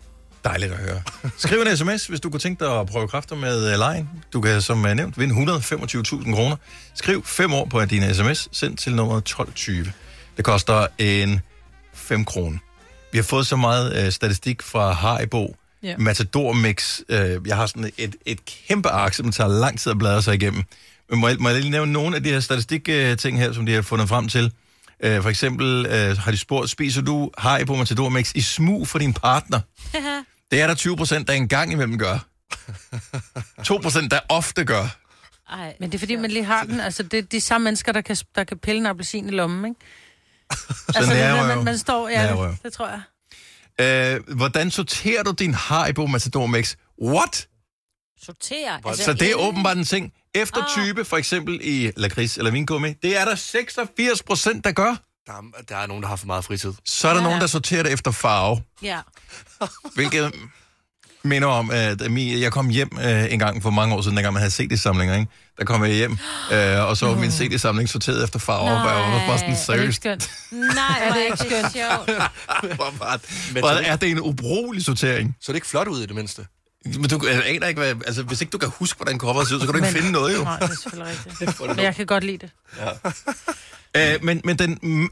Dejligt at høre. Skriv en sms, hvis du kunne tænke dig at prøve kræfter med uh, lejen. Du kan, som uh, nævnt, vinde 125.000 kroner. Skriv 5 år på din sms, send til nummeret 1220. Det koster en 5 kroner. Vi har fået så meget uh, statistik fra Haribo,
Ja.
yeah. Matador Mix. Uh, jeg har sådan et, et kæmpe ark, som tager lang tid at bladre sig igennem. Men må jeg, må jeg lige nævne nogle af de her statistik-ting her, som de har fundet frem til? Uh, for eksempel uh, har de spurgt, spiser du Haribo Matador Mix i smug for din partner? Det er der 20 procent, der engang imellem gør. 2 procent, der ofte gør.
Ej.
Men det er fordi, man lige har den. Altså, det er de samme mennesker, der kan, der kan pille en appelsin i lommen, ikke? altså, det
nærer
der,
jeg jo.
man, man står... Ja,
Nærer jeg jo.
det, det tror jeg.
Øh, hvordan sorterer du din Haribo Matador Mix? What?
Sorterer.
Altså,
Så det er åbenbart en ting. Efter
Ah.
type, for eksempel i lakrids eller vingummi, det er der 86 procent, der gør.
Der er, der er nogen, der har for meget fritid.
Så er der nogen, der sorterer det efter farve.
Ja.
Hvilket minder om, at mi- jeg kom hjem øh, en gang for mange år siden, dengang man havde CD-samlinger, ikke? Der kom jeg hjem, øh, og så var min CD-samling sorteret efter farve, og jeg var bare sådan
Nej.
Er det ikke
seriøst.
skønt?
Nej, er det ikke skønt? sjovt.
Hvor var- Hvor er det en ubrugelig sortering?
Så det er ikke flot ud i det mindste.
Men du øh, aner ikke, hvad, altså, hvis ikke du kan huske, hvordan coveret ser ud, så kan du ikke
Men-
finde noget jo.
Nej, det er selvfølgelig rigtigt. Men jeg kan godt lide det.
Øh, men, men den... Mm,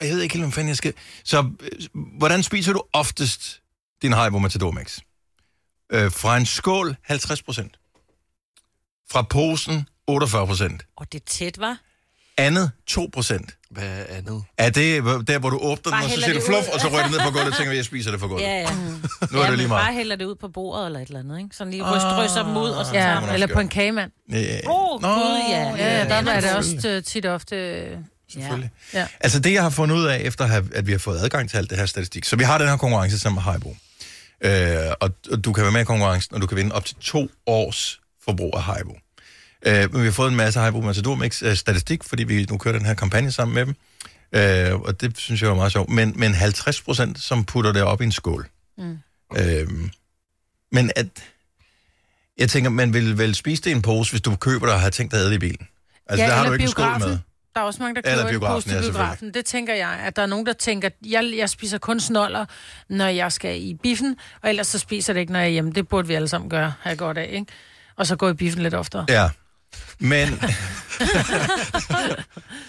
jeg ved ikke helt, hvad fanden jeg skal... Så øh, hvordan spiser du oftest din Haribo Matador Max? Øh, fra en skål 50 procent. Fra posen 48 procent.
Og det er tæt, var.
Andet 2 procent.
Hvad andet?
Er det hvor- der, hvor du åbner den,
Bare
og så
hælder
siger du
det
fluff,
ud.
og så rører det ned på gulvet og tænker, jeg spiser det for gulvet.
Ja, ja.
Nu er
ja,
det
men Bare
lige meget. Ah.
hælder det ud på bordet eller et eller andet, ikke? Sådan lige ryst, rysser dem ud, og så tager man.
altså,
Ja, eller på en kagemand.
Ja.
Åh,
Nå,
gud, ja.
Ja, der er det også øh, tit ofte... øh,
Selvfølgelig. Ja.
Ja.
Altså det, jeg har fundet ud af, efter at have- at vi har fået adgang til alt det her statistik, så vi har den her konkurrence sammen med Haribo. Øh, og, og du kan være med i konkurrencen, og du kan vinde op til to års forbrug af Haribo. Øh, men vi har fået en masse Haribo Matador Mix øh, statistik, fordi vi nu kører den her kampagne sammen med dem. Øh, og det synes jeg var meget sjovt. Men, men 50 procent, som putter det op i en skål. Mm. Øh, men at... Jeg tænker, man vil vel spise det i en pose, hvis du køber det og har tænkt dig at have det i bilen. Altså,
ja,
ja, der har
eller
du ikke en skål med.
Der er også mange, der
Eller
køber en
biografen,
pose
ja,
til
selvfølgelig.
biografen. Det tænker jeg, at der er nogen, der tænker, jeg, jeg spiser kun snoller, når jeg skal i biffen, og ellers så spiser det ikke, når jeg er hjemme. Det burde vi alle sammen gøre, have godt af, ikke? Og så gå i biffen lidt oftere.
Ja. Men,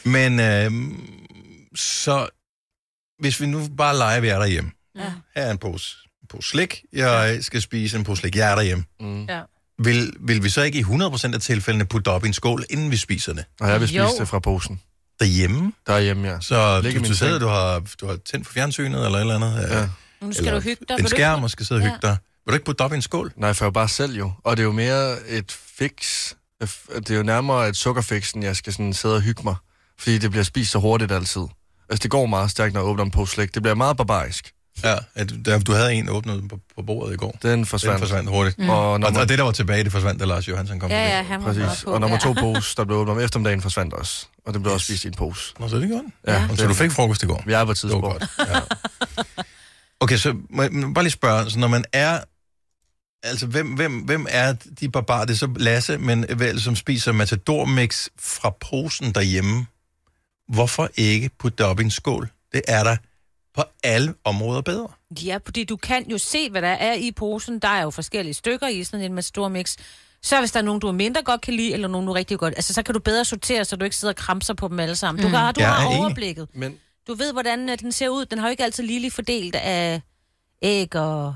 men øhm, så, hvis vi nu bare leger, vi er derhjemme. Ja. Her er en pose, en pose slik. Jeg skal spise en pose slik. Jeg er derhjemme.
Mm.
Ja.
Vil, vil vi så ikke i 100% af tilfældene putte det op i en skål, inden vi spiser det?
Og jeg vil spise
Jo.
det fra posen.
Derhjemme?
Derhjemme, ja.
Så
Ligge i
du,
min
du sidder,
seng.
du har, du har tændt for fjernsynet eller et eller andet.
ja.
Ja.
Nu skal
Eller
du hygge dig.
En
Vil du
skærm
ikke-
og skal sidde og hygge dig. Vil du ikke putte det op i en skål?
Nej, for jeg bare selv jo. Og det er jo mere et fix. Det er jo nærmere et sukkerfix, end jeg skal sådan sidde og hygge mig. Fordi det bliver spist så hurtigt altid. Altså, det går meget stærkt, når jeg åbner en pose slik. Det bliver meget barbarisk.
Ja. at der- Du havde en åbnet på, på bordet i går.
Den
Den
forsvandt.
forsvandt hurtigt. Mm.
Mm. Og,
Og,
nummer,
og det, der var tilbage, det forsvandt, da Lars Johansson kom
Ja,
forbi.
ja, han var
præcis.
på.
og nummer
ja.
to pose, der blev åbnet om eftermiddagen, forsvandt også. Og den blev også spist i en pose.
Nå, så er det gjorde
Ja,
Så du fik frokost i går?
Vi er på et
Det var
tidspunkt.
godt. Ja. Okay, så må jeg må jeg bare lige spørge, så når man er... Altså, hvem, hvem, hvem er de barbarer? Det er så Lasse, men vel, som spiser matadormix fra posen derhjemme. Hvorfor ikke putte det op i en skål? Det er der på alle områder bedre.
Ja, fordi du kan jo se, hvad der er i posen. Der er jo forskellige stykker i sådan en med stor mix. Så hvis der er nogen, du mindre godt kan lide, eller nogen, du rigtig godt... Altså, så kan du bedre sortere, så du ikke sidder og kramser på dem alle sammen. Du,
Mm.
kan, du
Jeg er
har
enig.
overblikket.
Men
Du ved, hvordan øh, den ser ud. Den har jo ikke altid lige fordelt af æg og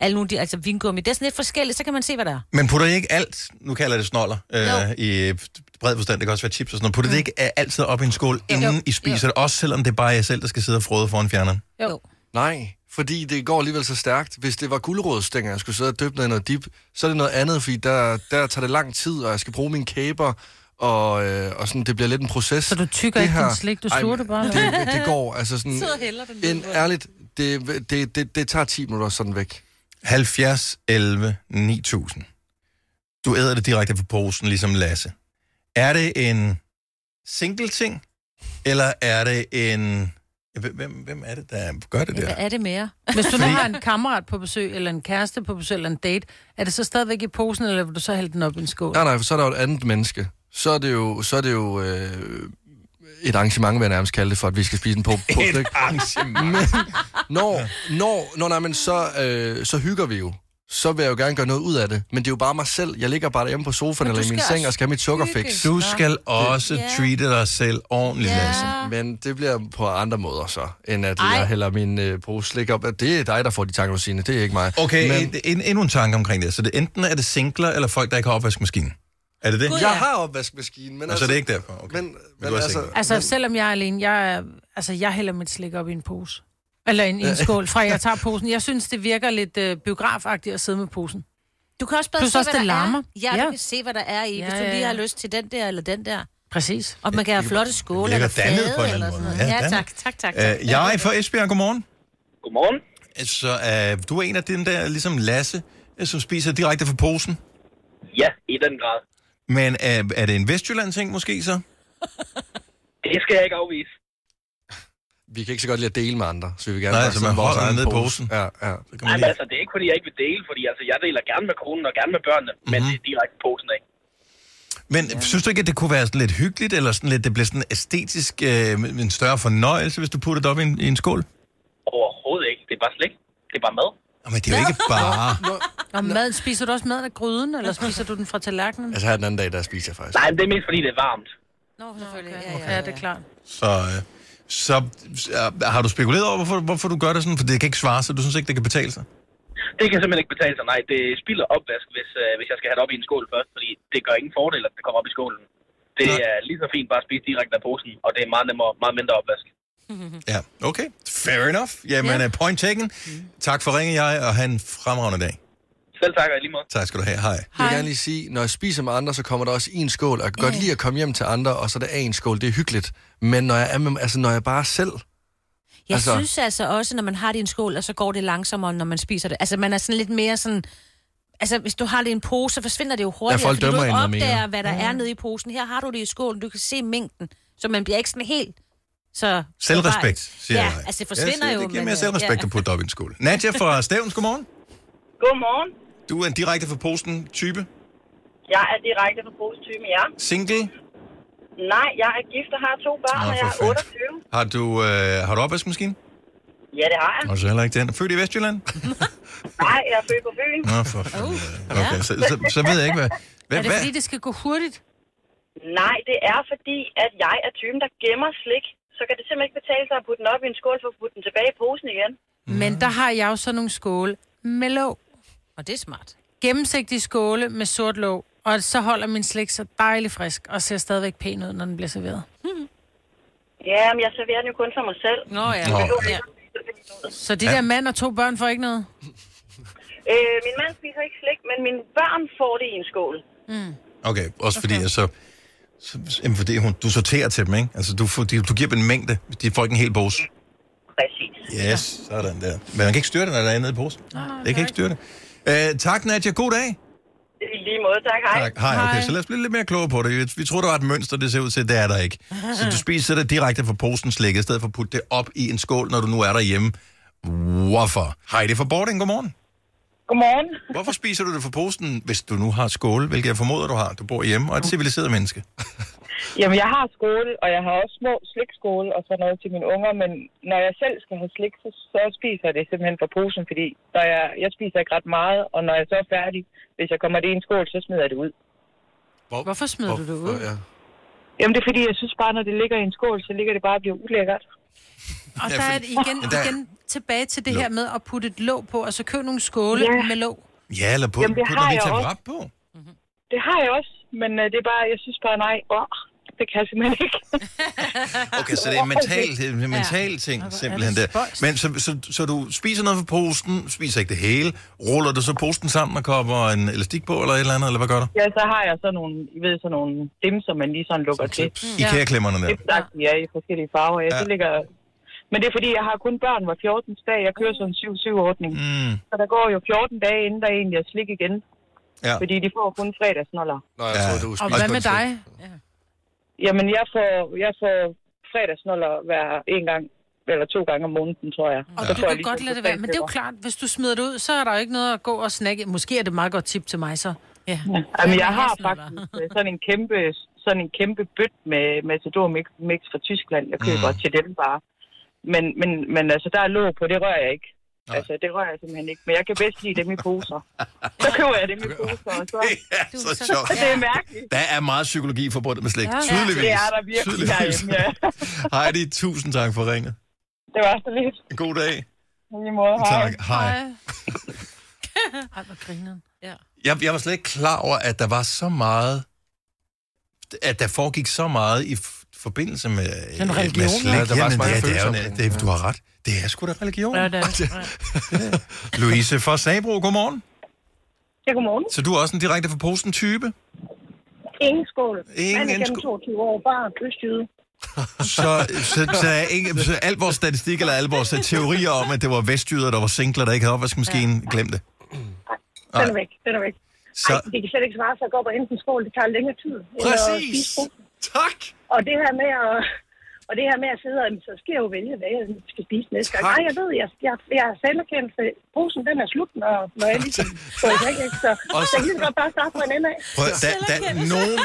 alle nogle, de, altså vingummi. Det er sådan lidt forskelligt, så kan man se, hvad der er.
Men putter I ikke alt, nu kalder jeg det snoller, øh, i øh, bred forstand, det kan også være chips og sådan noget, putter mm. det ikke øh, altid op i en skål, inden I spiser det, også selvom det er bare jer selv, der skal sidde og frode foran fjerneren?
Jo.
Nej, fordi det går alligevel så stærkt. Hvis det var guldrådstænger, jeg skulle sidde og dyppe ned i noget dip, så er det noget andet, fordi der, der tager det lang tid, og jeg skal bruge mine kæber, og, øh, og sådan, det bliver lidt en proces. Så
du tykker ikke din slik, du sluger det bare?
Det, det, går, altså sådan...
Sidder og hælder den ned
en,
på.
ærligt, det, det, det, det, tager 10 minutter sådan væk.
70, 11, 9000. Du æder det direkte fra posen, ligesom Lasse. Er det en single ting, eller er det en... Hvem, hvem- hvem er det, der gør det
Hvad
der?
er det mere?
Hvis du nu
Fordi-
har en kammerat på besøg, eller en kæreste på besøg, eller en date, er det så stadigvæk i posen, eller vil du så hælde den op i en skål?
Nej, nej, for så er der jo et andet menneske. Så er det jo, så er det jo øh, et arrangement, vil jeg nærmest kalde det, for at vi skal spise den på, på
Et arrangement.
Når, når, når nej, men så, øh, så hygger vi jo. Så vil jeg jo gerne gøre noget ud af det. Men det er jo bare mig selv. Jeg ligger bare hjemme på sofaen eller i min seng og skal have mit sukkerfix.
Du skal også treate dig selv ordentligt, Lasse.
Men det bliver på andre måder så, end at Ej.
Ej.
jeg hælder min øh, pose slik op. Det er dig, der får de tanker, Signe. Det er ikke mig.
Okay,
men,
en, en, endnu en tanke omkring det. Så det, enten er det singler, eller folk, der ikke har opvaskemaskinen. Er det det?
jeg har opvaskemaskinen, men altså-
Og så er det ikke derfor. Okay.
Men, men,
du er
altså,
single.
Altså, selvom jeg er alene, jeg, er- altså, jeg hælder mit slik op i en pose. Eller en, i en skål, fra jeg tager posen. Jeg synes, det virker lidt øh, biografagtigt at sidde med posen.
Du kan også bare
Plus
se,
også,
hvad der
det larmer.
er. Ja, du
Ja.
kan se, hvad der er i, ja, hvis
Ja,
du
ja,
lige
ja.
har lyst til den der eller den der.
Præcis.
Og man kan have flotte skåle
virker
eller
dannet på en
fade eller
eller anden
sådan
måde.
noget.
Ja,
Ja,
dannet.
tak, tak, tak. tak.
Øh, jeg er fra Esbjerg. Godmorgen.
Godmorgen.
Så øh, du er en af den der, ligesom Lasse, øh, som spiser direkte fra posen.
Ja, i den grad.
Men øh, er det en Vestjylland-ting måske så?
Det skal jeg ikke afvise.
vi kan ikke så godt lide at dele med andre, så vi vil gerne
Nej,
pakke
så
sådan
man
vores
holder
egen
ned i
pose.
posen.
Ja, ja.
Så kan man
Jamen,
lige...
altså, det er ikke, fordi jeg ikke vil dele, fordi altså, jeg deler gerne med konen og gerne med børnene, mm-hmm. men det er direkte posen af.
Men ja. synes du ikke, at det kunne være sådan lidt hyggeligt, eller sådan lidt, det bliver sådan æstetisk øh, med en større fornøjelse, hvis du putter det op i en, i en skål?
Overhovedet ikke. Det er bare slik. Det er bare mad.
Men det er jo ikke
Ah.
bare...
Og mad, spiser du også maden af gryden, eller spiser du den fra tallerkenen?
Altså her den anden dag, der spiser jeg faktisk.
Nej, men det er mest, fordi det er varmt.
Nå, selvfølgelig. Ja,
Ja, det er klart.
Mm.
Så, øh, så øh, har du spekuleret over, hvorfor, hvorfor du gør det sådan? For det kan ikke svare sig. Du synes ikke, det kan betale sig?
Det kan simpelthen ikke betale sig. Nej, det spilder opvask, hvis, øh, hvis jeg skal have det op i en skål først, fordi det gør ingen fordel, at det kommer op i skålen. Det
Nej.
er lige så fint bare at spise direkte af posen, og det er meget nemmere, meget mindre opvask.
Ja, okay. Fair enough. Jamen, yeah. point taken.
Mm.
Tak for ringen, jeg, og have en fremragende dag.
Selv tak, og i lige måde.
Tak skal du have. Hej.
Jeg vil gerne lige sige, når jeg spiser med andre, så kommer der også i en skål. Og jeg kan godt lide at komme hjem til andre, og så er der af en skål. Det er hyggeligt. Men når jeg er, med, altså, når jeg bare er selv...
Jeg
Altså-
altså... synes altså også, når man har det i en skål, og så går det langsommere, når man spiser det. Altså, man er sådan lidt mere sådan... Altså, hvis du har det i en pose, så forsvinder det jo hurtigt,
folk
fordi
dømmer
du
en
ikke
noget mere.
opdager, hvad der
Mhm.
er nede i posen. Her har du det i skålen, du kan se mængden, så man bliver ikke sådan helt... Så,
Selvrespekt, siger
ja,
jeg.
altså det forsvinder
jeg
jo.
Det giver
men,
mere
øh,
selvrespekt
ja.
at putte op i en skole. Nadja fra Stævns, godmorgen.
Godmorgen.
Du er en direkte fra posten type.
Jeg er direkte på posetypen, ja.
Single.
Nej, jeg er gift og har to børn,
Nå,
og
for
jeg er
fanden.
28.
Har du, øh, har du opvaskemaskine?
Ja, det har jeg.
Og så heller ikke den. Født i Vestjylland?
Nej, jeg er født på byen.
Nå, for fanden. Okay, så, så, så ved jeg ikke, hvad... hvad,
Oh. Er det
hvad?
fordi, det skal gå hurtigt?
Nej, det er fordi, at jeg er typen, der gemmer slik. Så kan det simpelthen ikke betale sig at putte den op i en skål, for at putte den tilbage i posen igen.
Men der har jeg jo sådan nogle skåle med låg.
Og det er smart.
Gennemsigtige skåle med sort låg. Og så holder min slik så dejligt frisk, og ser stadigvæk pæn ud, når den bliver serveret.
Ja, men jeg serverer den jo kun for mig selv.
Nå ja.
Nå,
ja.
Så de ja. der mand og to børn får ikke noget?
Øh, min mand spiser ikke slik, men mine børn får det i en skål.
Okay, også fordi okay. så... så jamen, fordi hun, du sorterer til dem, ikke? Altså, du, får- de- du giver dem en mængde. De får ikke en hel pose.
Præcis.
Yes, sådan der. Men man kan ikke styre det, når der er nede i posen. Nej, det kan ikke styre det. Øh, tak, Nadja. God dag.
I lige måde, tak. Hej.
Tak. Hej. Okay, så lad os blive lidt mere klogere på det. Vi, vi tror, der var et mønster, det ser ud til, at det er der ikke. Så du spiser det direkte fra posen slik, i stedet for at putte det op i en skål, når du nu er derhjemme, Hvorfor? Hej, det er fra Bording. Godmorgen.
Godmorgen.
Hvorfor spiser du det fra posen, hvis du nu har skåle, hvilket jeg formoder, du har? Du bor hjemme og er et civiliseret menneske.
Jamen, jeg har skole, og jeg har også små slikskåle og sådan noget til mine unger, men når jeg selv skal have slik, så, så spiser jeg det simpelthen fra posen, fordi når jeg, jeg spiser ikke ret meget, og når jeg så er færdig, hvis jeg kommer det i en skål, så smider jeg det ud.
Hvor,
Hvorfor smider du det ud?
Ja.
Jamen, det er fordi, jeg synes bare, når det ligger i en skål, så ligger det bare og bliver ulækkert.
Og
Ja,
der er
fordi-
det igen,
Men der-
igen tilbage til det
Låg.
her med at putte et låg på, og så køb nogle skåle
Ja.
med låg.
Ja, eller på,
Jamen, det
put
har
noget
jeg
Vita
også.
Wrap på.
Det har jeg også, men øh, det er bare, jeg synes bare, nej, åh, det kan jeg simpelthen ikke.
Okay, så det er en mental, det er en mental ting, simpelthen der.
spøjst.
Men så, så, så du spiser noget fra posen, spiser ikke det hele, ruller du så posen sammen og kopper en elastik på, eller et eller andet, eller hvad gør du?
Ja, så har jeg sådan nogle, I ved, sådan nogle dem, som man lige sådan lukker til.
Mm.
I kærklemmerne der.
Exakt, ja, i forskellige farver. Ja,
Ja.
ja. Det ligger... Men det er fordi, jeg har kun børn hver 14. dag. Jeg kører sådan en 7-7-ordning.
Mm,
Så der går jo 14 dage, inden der egentlig er slik igen.
ja.
Fordi de får kun fredagsnoller.
Nå, jeg
Ja.
tror, du
Og
Spis
hvad
på
med
det selv.
dig?
Jamen, jeg får, jeg får fredagsnoller hver en gang, eller to gange om måneden, tror jeg.
Og
Så
Mm. du
får jeg
kan
ligesom
godt lade det være, men det er jo
totalkøber.
klart, hvis du smider det ud, så er der jo ikke noget at gå og snakke. Måske er det et meget godt tip til mig så. Ja.
Jamen, jeg har
Hasselnødder.
faktisk øh, sådan en kæmpe, sådan en kæmpe bødt med Matador mix, mix fra Tyskland, jeg køber mm. til dem bare. Men, men, men altså, der er låg på, det rører jeg ikke.
Nej.
Altså, det rører jeg simpelthen ikke. Men jeg kan bedst lide dem i poser. Så køber jeg dem i poser, og så...
Det er så sjovt.
Det er mærkeligt.
Der er meget psykologi forbundet med slik.
Ja.
Tydeligvis.
Det er der virkelig
Tydeligvis.
herhjemme, ja.
Heidi, tusind tak for ringet.
Det var så lidt.
God dag.
På lige måde, hej.
Tak. Hej.
Ej, hvor grineren.
Jeg, jeg var slet ikke klar over, at der var så meget, at der foregik så meget i f- forbindelse med, øh,
Den
med
religion,
slik.
ja. Der var så
Jamen,
mange
det, er- det er,
følelser
jo-
omkring
det,
det.
du har ret. Det er sgu da religion.
Ja, det er det.
Louise fra Sabro, godmorgen.
Ja, godmorgen.
Så du er også en direkte fra posen type?
Ingen skål.
Ingen
Mand igennem
skål.
22 år, bare kystjyde.
Så, så, så, er ikke, så al vores statistik eller al vores teorier om, at det var vestjyder, der var singler, der ikke havde opvaskemaskinen, ja. glem det.
Den
Nej.
er væk, den er væk.
Så,
Ej, det kan slet ikke svare sig at gå op og hente en skål. Det tager længere tid. end at spise
præcis.
posen.
Tak.
Og det her med at... Og det her med at sidde, og så skal jeg jo vælge, hvad jeg skal spise næste gang.
Tak.
Nej, jeg ved, jeg, jeg, jeg er selverkendt, for posen den er slut, når, når jeg ligesom får i væk, ikke? Så
Også-
jeg kan lige så godt bare starte fra en ende af.
Prøv, da, da, nogen,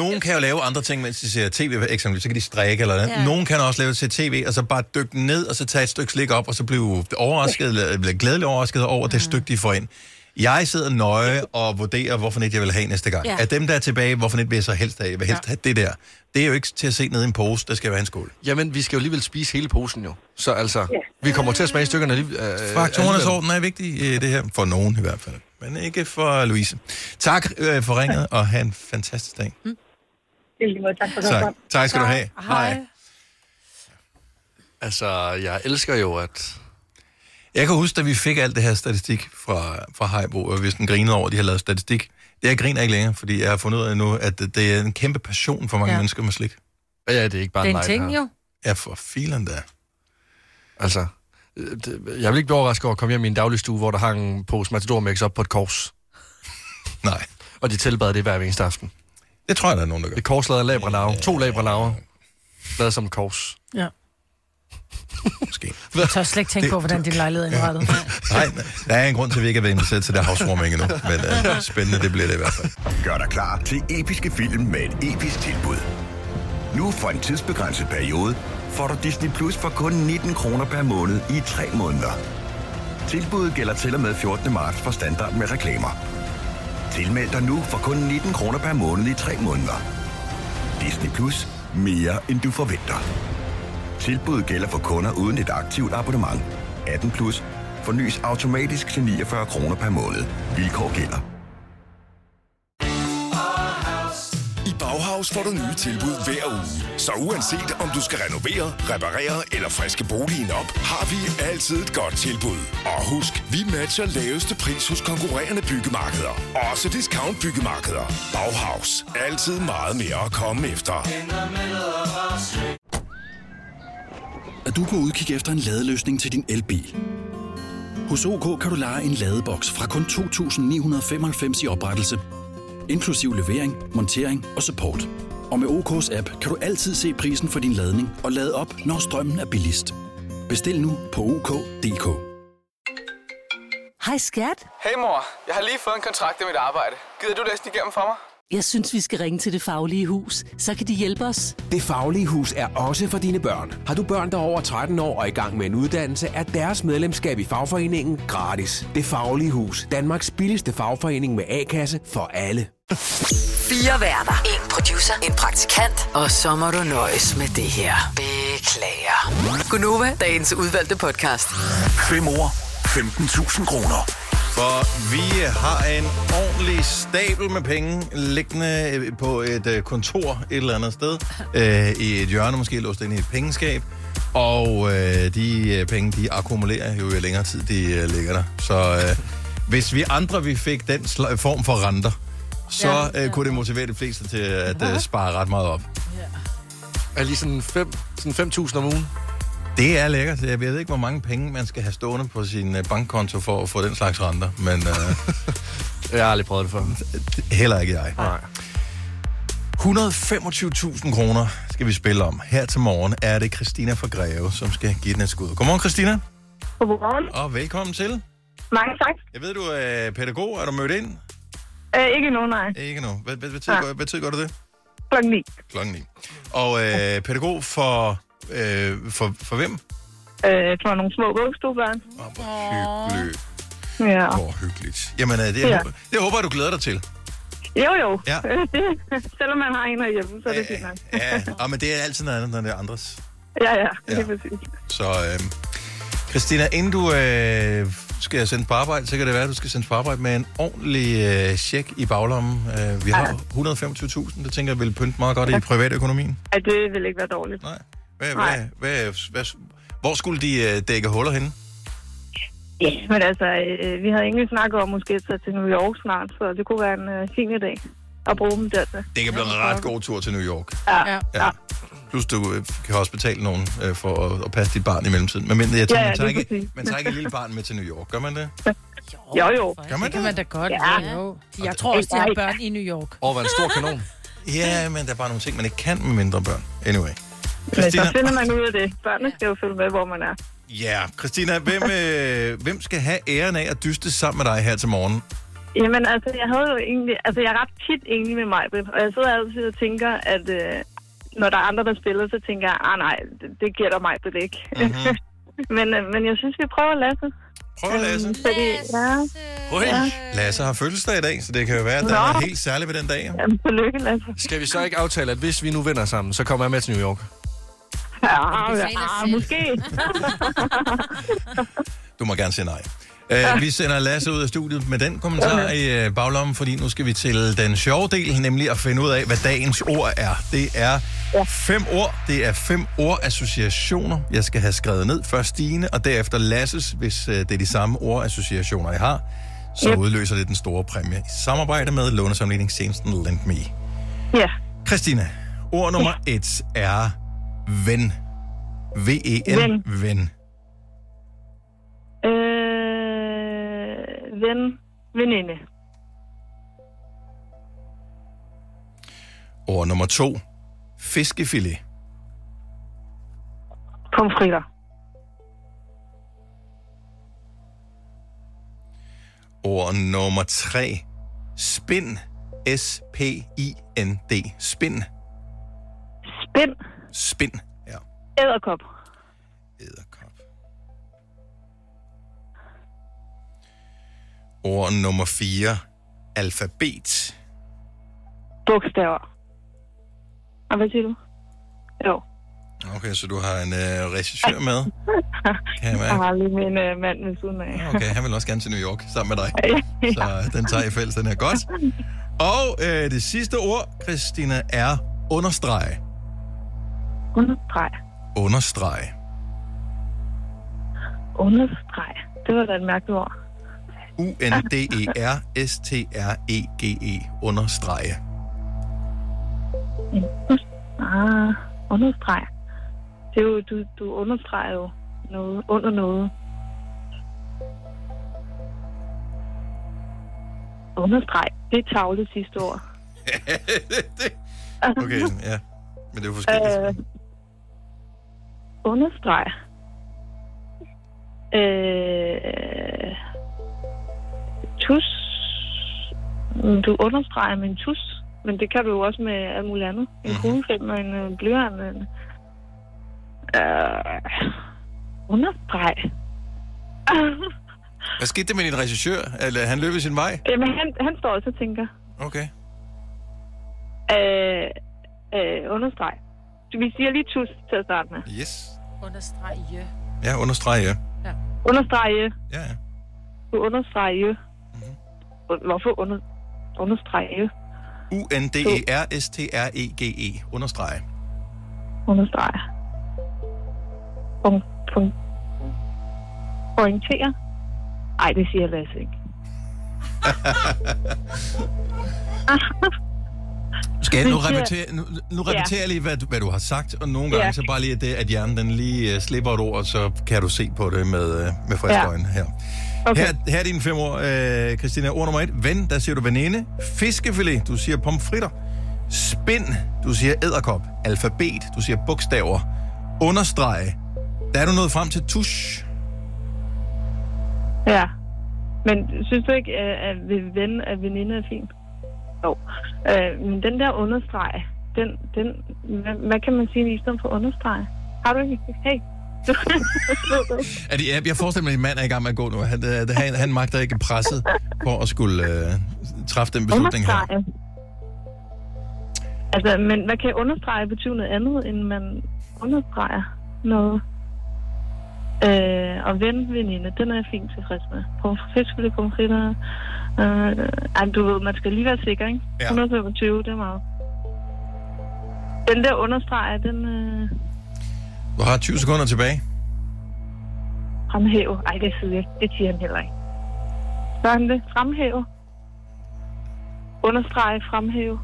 nogen kan jo lave andre ting, mens de ser tv, for eksempel, så kan de strække eller noget. Ja.
Ja.
Nogen kan også lave til tv, og så bare dykke ned, og så tage et stykke slik op, og så blive overrasket, eller blive glædeligt overrasket over det stykke, de får ind. Jeg sidder nøje og vurderer, hvorfor net jeg vil have næste gang. Ja.
Ja.
Af dem, der er tilbage, hvorfor net vil jeg så helst have? Jeg vil helst ja. have det der. Det er jo ikke til at se ned i en pose, der skal være en skål.
Jamen, vi skal jo alligevel spise hele posen jo. Så altså, vi kommer til at smage stykkerne alligevel. Øh,
Faktorernes
alligevel.
orden er vigtig i det her, for nogen i hvert fald. Men ikke for Louise. Tak øh, for ringet, og have en fantastisk dag.
Det er lige måde, tak for det.
Tak, tak skal du have.
Hej.
Altså, jeg elsker jo, at...
Jeg kan huske, da vi fik alt det her statistik fra, fra Heibo, og hvis den grinede over, at de har lavet statistik. Det jeg griner ikke længere, fordi jeg har fundet ud af nu, at det- det er en kæmpe passion for mange ja.
Ja.
mennesker med slik.
Ja, det er ikke bare
Det er
en
en
leg, det
ting
her.
jo.
Ja, for filen der.
Altså, øh, det- jeg vil ikke blive overrasket over at komme hjem i en dagligstue, hvor der hang en pose Matador Mix op på et kors.
Nej,
Og de tilbad det hver eneste aften.
det tror jeg, der er nogen, der gør.
Et kors lavet af labralaver. To labralaver. Lavet som et kors.
Ja.
Måske.
Jeg tør slet ikke tænke på, hvordan din lejlighed er indrettet.
Nej, der er en grund til, at vi ikke har været inviteret til det housewarming endnu, men uh, spændende det bliver det i hvert fald.
Gør dig klar til episke film med et episk tilbud. Nu for en tidsbegrænset periode får du Disney Plus for kun 19 kroner per måned i 3 måneder. Tilbuddet gælder til og med 14. marts for standard med reklamer. Tilmeld dig nu for kun 19 kroner per måned i 3 måneder. Disney Plus. Mere end du forventer. Tilbuddet gælder for kunder uden et aktivt abonnement. 18 plus. Fornyes automatisk til 49 kroner per måned. Vilkår gælder.
I Bauhaus får du nye tilbud hver uge. Så uanset om du skal renovere, reparere eller friske boligen op, har vi altid et godt tilbud. Og husk, vi matcher laveste pris hos konkurrerende byggemarkeder. Også discount byggemarkeder. Bauhaus. Altid meget mere at komme efter.
Er du på udkig efter en ladeløsning til din elbil? Hos OK kan du lege en ladeboks fra kun 2.995 i oprettelse, inklusiv levering, montering og support. Og med OK's app kan du altid se prisen for din ladning og lade op, når strømmen er billigst. Bestil nu på OK.dk.
Hej skat.
Hey mor, jeg har lige fået en kontrakt med mit arbejde. Gider du læse den igennem for mig?
Jeg synes, vi skal ringe til Det Faglige Hus. Så kan de hjælpe os.
Det Faglige Hus er også for dine børn. Har du børn, der er over 13 år og i gang med en uddannelse, er deres medlemskab i fagforeningen gratis. Det Faglige Hus. Danmarks billigste fagforening med A-kasse for alle.
Fire værter. En producer. En praktikant. Og så må du nøjes med det her. Beklager. Gunova, dagens udvalgte podcast.
5 år, 15.000 kroner.
For vi har en ordentlig stabel med penge liggende øh, på et øh, kontor et eller andet sted. Øh, I et hjørne måske låst ind i et pengeskab. Og øh, de øh, penge, de akkumulerer jo jo længere tid, de øh, ligger der. Så øh, hvis vi andre, vi fik den sl- form for renter, så øh, kunne det motivere de fleste til at øh, spare ret meget op.
Er lige sådan 5 sådan 5.000 om ugen?
Det er lækkert. Jeg ved ikke, hvor mange penge man skal have stående på sin øh, bankkonto for at få den slags renter, men... Øh,
jeg har aldrig prøvet det før.
Heller ikke jeg. Nej. 125.000 kroner skal vi spille om. Her til morgen er det Christina fra Greve, som skal give den et skud. Godmorgen, Christina.
Godmorgen.
Og velkommen til.
Mange tak.
Jeg ved, du er pædagog. Er du mødt ind?
Øh, ikke nu, nej.
Ikke nu. Hvad, hvad, hvad, tid, går, hvad tid går du det?
Klokken 9.
Klokken 9. Og øh, pædagog for, øh, for, for hvem?
Øh, for nogle små vuggestuebørn.
Hyggeligt.
Ja.
Hvor hyggeligt. Jamen, øh, det, jeg,
Ja.
håber, det håber jeg, du glæder dig til.
Jo, jo.
Ja.
Øh, det- Selvom man har en herhjemme, så er det fint nok.
Ja, og, men det er altid noget andet, når det er andres.
Ja, ja.
Ja.
Det er præcis.
Så øh, Christina, inden du øh, skal sendes på arbejde, så kan det være, at du skal sendes på arbejde med en ordentlig øh, check i baglommen. Øh, vi har 125.000, det tænker jeg vil pynte meget godt i privatøkonomien.
Ej, det vil ikke være dårligt.
Nej. Hvad, hvad, hvad, hvad, hvor skulle de øh, dække huller henne?
Ja, men altså, øh, vi havde egentlig snakket om måske at tage til New York snart, så det kunne være en øh, fin idé at bruge dem der til.
Det kan blive en ret god tur til New York.
Ja.
Ja. Plus du øh, kan også betale nogen øh, for at, at passe dit barn i mellemtiden. Men jeg tænker,
Ja,
man, tager
lige
ikke,
præcis.
man tager ikke et lille barn med til New York, gør man det?
Jo, jo.
Gør man
det? kan man da godt.
Ja.
Ja. Jo. Jeg tror også, de har børn i New York.
Og var en stor kanon. ja, men der er bare nogle ting, man ikke kan med mindre børn. Anyway.
Men så finder man ud af det. Børnene skal jo følge med, hvor man er.
Ja, yeah. Christina, hvem, øh, hvem skal have æren af at dyste sammen med dig her til morgen?
Jamen altså, jeg havde jo egentlig, altså jeg er ret tit enig med mig, og jeg sidder altid og tænker, at øh, når der er andre, der spiller, så tænker jeg, ah nej, det, det gælder mig det ikke.
Mhm.
men, øh, men jeg synes, vi prøver Lasse. Øhm,
Prøv Lasse.
Fordi, ja,
Hoi. Lasse har fødselsdag i dag, så det kan jo være, at der
Nå.
er noget helt særligt ved den dag. jo.
Jamen, tillykke Lasse.
Skal vi så ikke aftale, at hvis vi nu vinder sammen, så kommer jeg med til New York?
Ja,
du
ja,
sagde dig
ja
selv.
måske.
Du må gerne sige nej. Uh, vi sender Lasse ud af studiet med den kommentar i øh, baglommen, fordi nu skal vi til den sjove del, nemlig at finde ud af, hvad dagens ord er. Det er fem ord. Det er fem ordassociationer, jeg skal have skrevet ned. Først dine, og derefter Lasses, hvis øh, det er de samme ordassociationer, jeg har. Så
Yep.
udløser det den store præmie i samarbejde med lånesamledningstjenesten LendMe.
ja,
Christina, ord nummer et er ven. V-E-N, ven. ven.
øh, ven, veninde.
Ord nummer to, fiskefilet.
Pomfritter.
Ord nummer tre, spind. S-P-I-N-D. Spind.
Spind.
Spind.
Æderkop.
Ord nummer fire, alfabet.
Bogstaver. Og hvad siger du? Jo.
Okay, så du har en øh, regissør med. Kan jeg
Jeg
mærke.
har lige min øh, mand ved siden af.
Okay, han vil også gerne til New York sammen med dig. Så øh, den tager I fælles, den er godt. Og øh, det sidste ord, Christina, er understreg.
Understreg.
Understreg.
Understreg. Det var da et mærkeligt ord.
E U-N-D-E-R-S-T-R-E-G-E. E Understrege.
Ah, understreg. Det er jo, du, du understreger jo noget under noget. Understreg. Det er tavle sidste år.
Okay, ja. Men det er jo forskelligt.
Øh, understreg. Øh, tus. Mm, Du understreger med en tus, men det kan du jo også med alt muligt andet. En kuglepen og en øh, blyant. og En, øh, understreg.
Hvad skete der med din regissør? Eller han løb i sin vej?
Jamen, han, han står også og tænker.
Okay.
Øh, øh, understreg. Så vi siger lige tus til at starte med.
Yes.
Understreg, ja.
Ja, understreg ja.
Understreg, ja.
Ja, ja. Mhm.
Du understreger jo. Mm-hmm. Hvorfor under, understreger jo?
E U-N-D-E-R-S-T-R-E-G-E. E. Understreg.
Understreger. Punk, punk. Orienterer. Ej, det siger Lasse ikke.
Skal jeg nu
Det siger-
repetere, nu, nu repetere
Ja.
lige, hvad, du- hvad du har sagt, og nogle gange
Ja.
så bare lige det, at hjernen den lige uh, slipper et ord, og så kan du se på det med, uh, med friske
Ja.
ja. øjne her. Okay. her. Her er dine fem ord, uh, Christina. Ord nummer et, ven, der siger du veninde. Fiskefilet, du siger pomfritter. Spind, du siger æderkop. Alfabet, du siger bogstaver. Understreg, der er du nået frem til tusch.
Ja. Men synes du ikke, øh, at ved ven at veninde er fint? Jo. Øh, men den der understreg, den, den, hvad, hvad kan man sige i stedet for understreg? Har du ikke? Hey.
Er det, jeg, jeg forestiller mig, at din mand er i gang med at gå nu. Han, øh, han, han magter ikke presset på at skulle øh, træffe den beslutning her.
Understrege. Altså, men hvad kan understrege betyde noget andet, end man understreger noget? Øh, og ven, veninde, den er jeg fint tilfreds med. Pomfritter, pomfritter. Øh, ej, du ved, man skal lige være sikker, ikke?
Ja.
125, det er meget. Den der understreger, den øh,
Du har 20 sekunder tilbage.
fremhæve. Ej, det siger, jeg ikke. det siger han heller ikke. Så han det. Fremhæve. Understrege, fremhæve.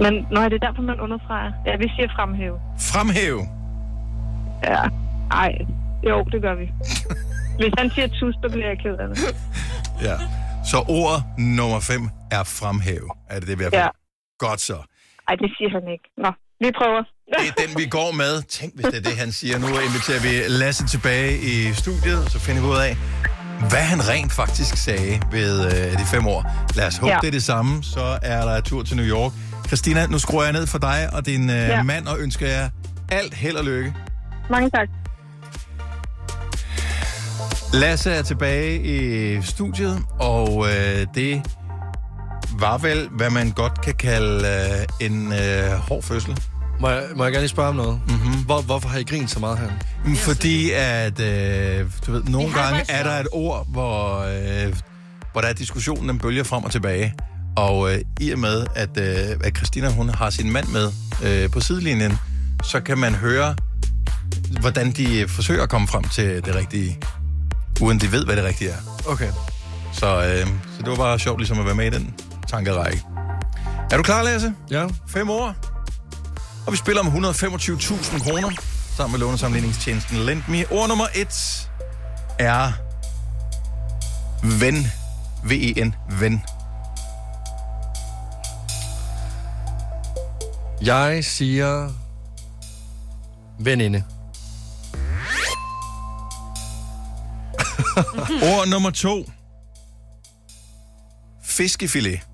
Men nej, det er derfor, man understreger. Ja, vi siger fremhæve.
Fremhæve.
Ja. Ej, jo, det gør vi. Hvis han siger tus, så bliver jeg ked af det.
Ja. Så ord nummer 5 er fremhæve. Er det det, vi har fået?
Ja.
Godt så.
Ej, det siger han ikke. Nå, vi prøver.
Det er den, vi går med. Tænk, hvis det er det, han siger. Nu inviterer vi Lasse tilbage i studiet, så finder vi ud af, hvad han rent faktisk sagde ved øh, de fem år. Lad os håbe,
Ja.
ja. det er det samme. Så er der tur til New York. Christina, nu skruer jeg ned for dig og din øh,
Ja.
ja. mand og ønsker jer alt held og lykke.
Mange tak.
Lasse er tilbage i studiet, og øh, det var vel, hvad man godt kan kalde øh, en øh, hård fødsel.
Må jeg, må jeg gerne lige spørge om noget? Mm-hmm. Hvor, hvorfor har I grint så meget her?
Mm, Fordi at, øh, du ved, nogle gange er der et ord, hvor, øh, hvor der er diskussionen, den bølger frem og tilbage. Og øh, i og med, at, øh, at Christina hun har sin mand med øh, på sidelinjen, så kan man høre, hvordan de øh, forsøger at komme frem til det rigtige, uden de ved, hvad det rigtige er.
Okay.
Så, øh, så det var bare sjovt ligesom at være med i den tankerække. Er du klar, Lasse?
Ja.
Fem år. Og vi spiller om 125.000 kroner sammen med lånesamligningstjenesten Lendme. Ord nummer et er ven. V-E-N. Ven.
Jeg siger veninde.
Ord nummer to. Fiskefilet.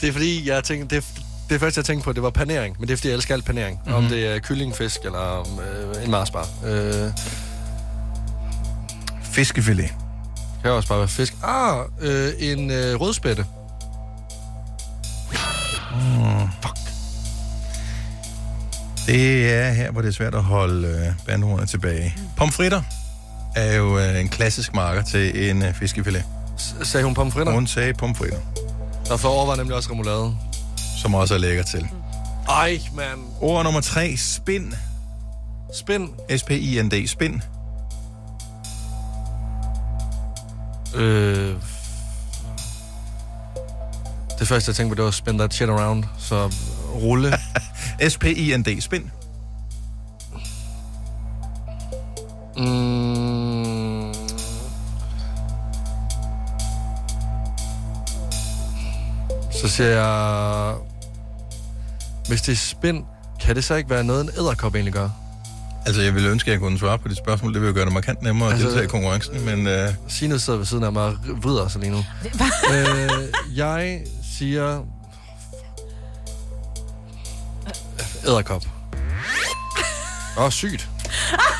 det er fordi, jeg tænkte, det, det første, jeg tænkte på, det var panering. Men det er fordi, jeg elsker alt panering. Mm-hmm. Om det er kyllingfisk eller om, øh, en marsbar. Øh,
Fiskefilet.
kan også bare være fisk. Ah, øh, en øh, rødspætte.
Mm. Fuck. Det er her, hvor det er svært at holde øh, bandhornene tilbage.
Mm.
Pomfritter er jo øh, en klassisk marker til en øh, fiskefilet.
Sagde hun pomfritter?
Hun sagde pomfritter,
Der forover var nemlig også remoulade.
som også er lækker til.
Ej, mand.
Ord nummer tre, spind.
Spind.
S-P-I-N-D, spind.
Øh, det første, jeg tænkte på, det var spin that shit around. Så rulle.
S-P-I-N-D, spind.
Mm. Så siger jeg... Hvis det er spind, kan det så ikke være noget, en æderkop egentlig gør?
Altså, jeg ville ønske, at jeg kunne svare på dit spørgsmål. Det ville jo gøre det markant nemmere altså,
Altså-
at deltage i konkurrencen, men... Øh...
Sinus sidder ved siden af mig og vrider sig lige nu. øh, jeg siger... Æderkop. Åh, sygt.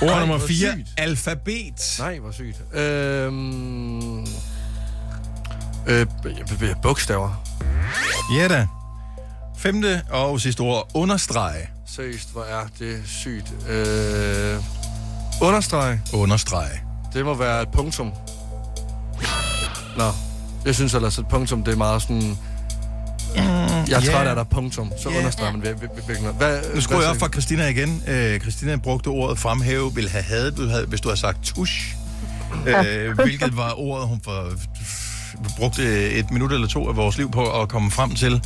Ord
Nej,
nummer
hvor
4.
sygt.
Alfabet.
Nej, hvor sygt. Øhm... Øh, b- b- bogstaver.
Ja da. Femte og sidste ord. Understrege.
Seriøst, hvor er det sygt. Øh... Understreg.
Understrege.
Det må være et punktum. Nå, jeg synes ellers, at punktum, det er meget
Mm,
sådan... Jeg er
ja.
træt af dig, punktum. Så
Ja.
understreger man vir- vir- vir- virkelig noget. Hvad,
Nu skruer jeg
hvad
op for Christina igen. Øh, Christina brugte ordet fremhæve, ville have hadet, du havde, hvis du havde sagt tush. Øh, hvilket var ordet, hun for, brugte et minut eller to af vores liv på at komme frem til.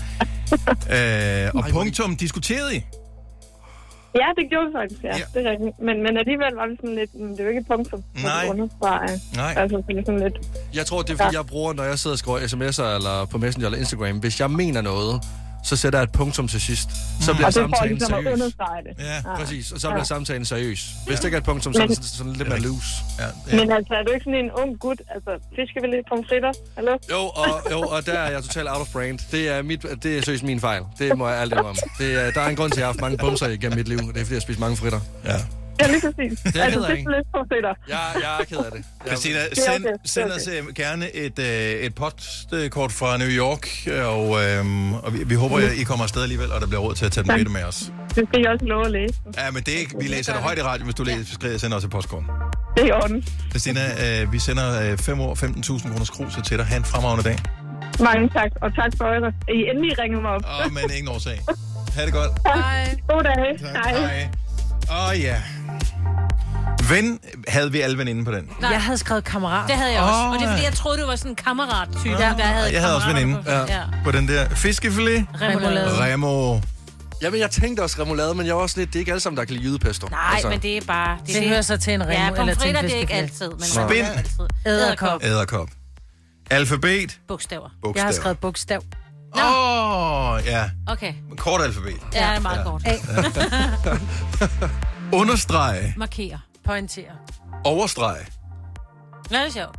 Øh, og punktum diskuterede I.
Ja, det gjorde vi faktisk, ja. ja. Det er rigtigt. Men, men alligevel var det sådan lidt, mm, det er jo ikke et punktum. hvor
Nej.
du understreger.
Nej.
Altså, det er sådan lidt,
Jeg tror, det er, fordi jeg bruger, når jeg sidder og skriver sms'er eller på Messenger eller Instagram, hvis jeg mener noget, så sætter jeg et punktum til sidst. Så
Mm.
bliver
Og det er for
samtalen
ligesom at
seriøs.
understrege det.
Ja,
præcis. Og så
Ja.
bliver samtalen seriøs. Hvis det ikke er et punktum, så er det sådan- sådan lidt mere loose.
ja. Men altså, er du ikke sådan en ung gut? Altså, fisker vi lidt pomfritter? Hallo?
Jo, og, jo, og der er jeg totalt out of brand. Det er, mit, det er seriøst min fejl. Det må jeg alt om. Det er, der er en grund til, at jeg har haft mange bumser igennem mit liv. Det er, fordi jeg spiser mange fritter.
Ja.
Ja, lige præcis.
Det er
altså,
ked af,
fisker lidt pomfritter.
Ja, jeg er ked af det. Jeg-
Christina,
Det er
send,
okay, det er
send
okay.
os øh, gerne et, øh, et postkort fra New York, og, øhm, og vi, vi håber, at I kommer afsted alligevel, og der bliver råd til at tage den med med os.
Det skal I også love at læse.
Ja, men det er ikke, vi læser det højt i radio, hvis du læser, skriver, sender os et postkort.
Det er i orden.
Christina, øh, vi sender 5 år 15.000 kroners kruser til dig. Ha' en fremragende dag.
Mange tak, og tak for, at I endelig ringede mig op.
Åh, men ingen årsag. Ha' det godt.
Hej. God dag. Hej.
Hej. Åh oh, ja. Ven havde vi alle veninden på den.
Nej. Jeg havde skrevet kammerat.
Det havde jeg også.
Åh,
Og det er fordi,
ja.
jeg troede, du var sådan en kammerat-type,
Ja.
ja. der havde
Jeg havde også
kammerater
veninde
på. Ja. ja.
på den der fiskefilet.
Remoulade.
Remo.
Jamen, jeg tænkte også remoulade, men jeg var også lidt, det er ikke alle sammen, der kan lide jydepesto.
Nej, altså. men det er bare...
Det hører så til en remo
ja,
eller til en
pomfritter, det er ikke
fiskefilet.
altid. Men
Spind.
man altid. Æderkop.
Æderkop. Alfabet.
Bogstaver.
Bogstaver.
Jeg har skrevet bogstav.
Åh, oh, ja.
Okay.
Kort alfabet.
Ja, det er meget ja. kort.
Understreg.
Markere.
Pointere.
Overstreg.
Nå, det er sjovt.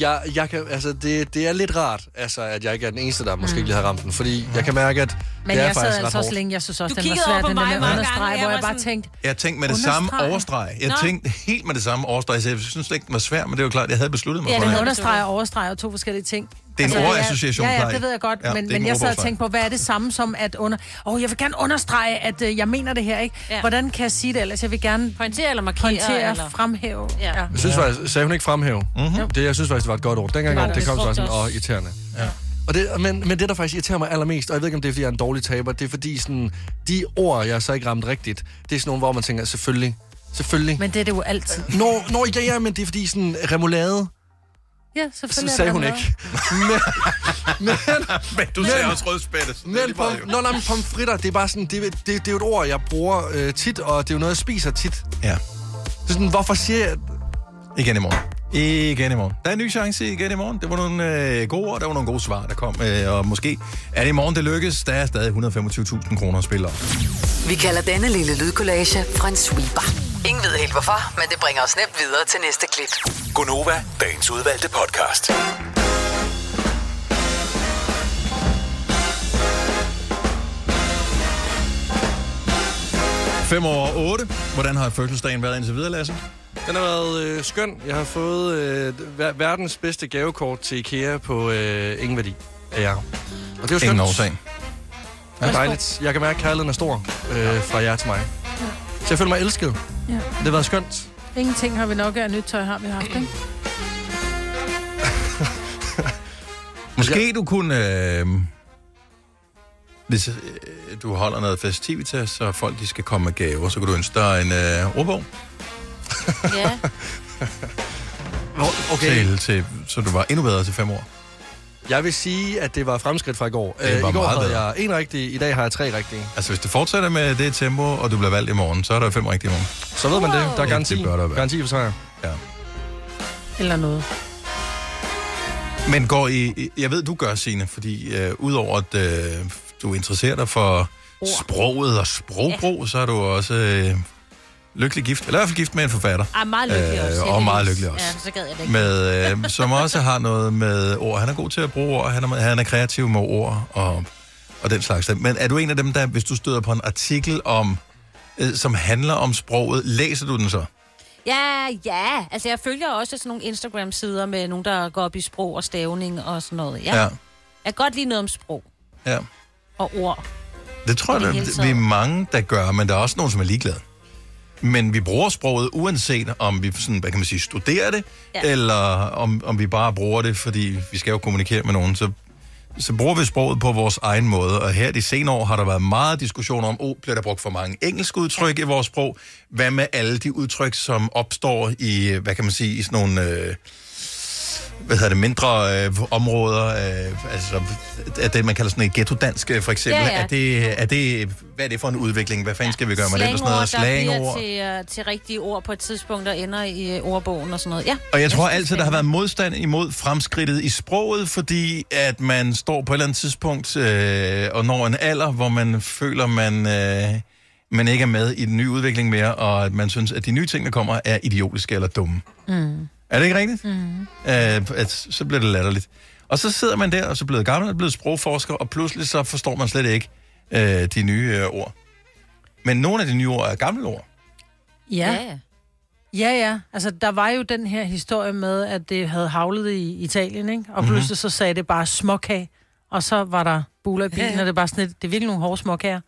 Jeg, jeg kan, altså, det, det er lidt rart, altså, at jeg ikke er den eneste, der måske ikke lige har ramt den, fordi jeg kan mærke, at
Mm. Men
det er
jeg sad
faktisk ret
altså også
hårdt.
længe, jeg synes også,
Du
den var
kiggede
svær,
over på
den der
mig
med
mange
understreg,
gange,
hvor
jeg
jeg
var
bare
sådan-
tænkte,
Jeg tænkte med det samme
Understreg.
overstreg. Jeg
Nå.
tænkte helt med det samme overstreg. Så jeg synes slet ikke, den var svær, men det var klart, at jeg havde besluttet mig
ja,
for
den
det.
understreger og overstreger to forskellige ting.
Det er en
jeg-
ordassociation,
Ja, ja,
Kai.
det ved jeg godt,
Ja,
ja, men,
det er
men
ikke
jeg
en
sad og
ordbogstreg.
tænkte på, hvad er det samme som at under... Åh, oh, jeg vil gerne understrege, at øh, jeg mener det her, ikke? Ja. Hvordan kan jeg sige det ellers? Jeg vil gerne...
Pointere eller markere,
Pointere,
eller-
fremhæve.
Ja.
Jeg synes faktisk, sagde hun ikke fremhæve?
Mhm.
Mm-hmm. Det, jeg synes faktisk, det var et godt ord. Dengang
Det var
det,
det.
det kom så
Det
sådan,
frugte
og
os.
irriterende. Ja. Og det, men, men det, der faktisk irriterer mig allermest, og jeg ved ikke, om det er, fordi jeg er en dårlig taber, det er fordi sådan, de ord, jeg så ikke ramt rigtigt, det er sådan nogle, hvor man tænker, selvfølgelig, selvfølgelig.
Men det er det jo altid.
Nå, nå ja, ja, men det er fordi sådan, remoulade,
Ja,
så
selvfølgelig.
sagde
er
hun
der
ikke. Men, men,
men du sagde også rødspætte. så det er
Men
lige meget
pom,
jo.
nå, nej, men pomfritter, det er bare sådan, det, det, det er jo et ord, jeg bruger øh, tit, og det er jo noget, jeg spiser tit.
Ja.
Så sådan, hvorfor siger jeg...
Igen i morgen. Igen i morgen. Der er en ny chance igen i morgen. Det var nogle øh, gode ord, der var nogle gode svar, der kom. Øh, og måske er det i morgen, det lykkes. Der er stadig 125.000 kroner at spille om.
Vi kalder denne lille lydkollage Frans sweeper. Ingen ved helt hvorfor, men det bringer os nemt videre til næste klip.
Gonova, dagens udvalgte podcast.
Fem over 8. Hvordan har fødselsdagen været indtil videre, Lasse?
Den har været øh, skøn. Jeg har fået øh, ver- verdens bedste gavekort til IKEA på øh, ingen værdi af jer. Og det er jo skønt.
Ingen årsag.
Ja. Det er dejligt. Jeg kan mærke, at kærligheden er stor øh, fra jer til mig. Så jeg føler mig elsket.
Ja.
Det har været skønt.
Ingenting har vi nok af, og nyt tøj har vi haft, ikke?
Måske du kunne... Øh, hvis øh, du holder noget festivitas, så folk de skal komme med gaver, så kan du ønske dig en øh, ordbog.
Ja.
okay.
Til, til, så du var endnu bedre til fem år.
Jeg vil sige, at det var fremskridt fra i går.
Det
Øh,
var
I går
meget
havde
bedre.
jeg en rigtig, i dag har jeg tre rigtige.
Altså, hvis det fortsætter med det tempo, og du bliver valgt i morgen, så er der fem rigtige i morgen.
Så ved man det. Der er garanti.
Det bør der være.
Garanti for sejr.
Ja.
Eller noget.
Men går I... Jeg ved, du gør, Signe, fordi øh, udover at øh, du interesserer dig for sproget og sprogbrug, så er du også øh, lykkelig gift. Eller i hvert fald gift med en forfatter.
Ah, meget lykkelig også.
Øh, og meget
heldigvis.
lykkelig også.
Ja, så gad jeg det ikke.
Med, øh, som også har noget med ord. Han er god til at bruge ord, han er, han er kreativ med ord og, og den slags. ting. Men er du en af dem, der, hvis du støder på en artikel om, øh, som handler om sproget, læser du den så?
Ja, ja. Altså, jeg følger også sådan nogle Instagram-sider med nogen, der går op i sprog og stavning og sådan noget. Ja. ja.
Ja.
Jeg kan godt lide noget om sprog
ja.
og ord.
Det tror
I
jeg,
det
der-
hele
vi er
taget.
mange, der gør, men der er også nogen, som er ligeglade. Men vi bruger sproget, uanset om vi sådan, hvad kan man sige, studerer det,
Ja.
ja. eller om, om vi bare bruger det, fordi vi skal jo kommunikere med nogen, så, så bruger vi sproget på vores egen måde. Og her de senere år har der været meget diskussion om, oh, bliver der brugt for mange engelske udtryk ja. i vores sprog? Hvad med alle de udtryk, som opstår i, hvad kan man sige, i sådan nogle... Øh, hvad hedder det, mindre øh, områder, øh, altså at det, man kalder sådan et ghetto-dansk, øh, for eksempel.
Ja, ja.
Er det, er det, hvad er det for en udvikling? Hvad fanden skal vi gøre med det? Og Sådan noget
der
slangord.
bliver til, uh, til rigtige ord på et tidspunkt, der ender i uh, ordbogen og sådan noget. Ja.
Og jeg tror
synes,
altid,
det
der
er
har været modstand imod fremskridtet i sproget, fordi at man står på et eller andet tidspunkt øh, og når en alder, hvor man føler, man, øh, man ikke er med i den nye udvikling mere, og at man synes, at de nye ting, der kommer, er idiotiske eller dumme.
Mm.
Er det ikke rigtigt?
Mhm.
Mm.
Øh, at, så bliver det latterligt. Og så sidder man der, og så er blevet gammel, og blevet sprogforsker, og pludselig så forstår man slet ikke øh, de nye øh, ord. Men nogle af de nye ord er gamle ord.
Ja. Ja, ja. Altså, der var jo den her historie med, at det havde havlet i Italien, ikke? Og
Mhm.
pludselig så sagde det bare småkage, og så var der buler i bilen,
Ja,
ja,
ja.
og det er bare sådan lidt, det er virkelig nogle hårde småkager.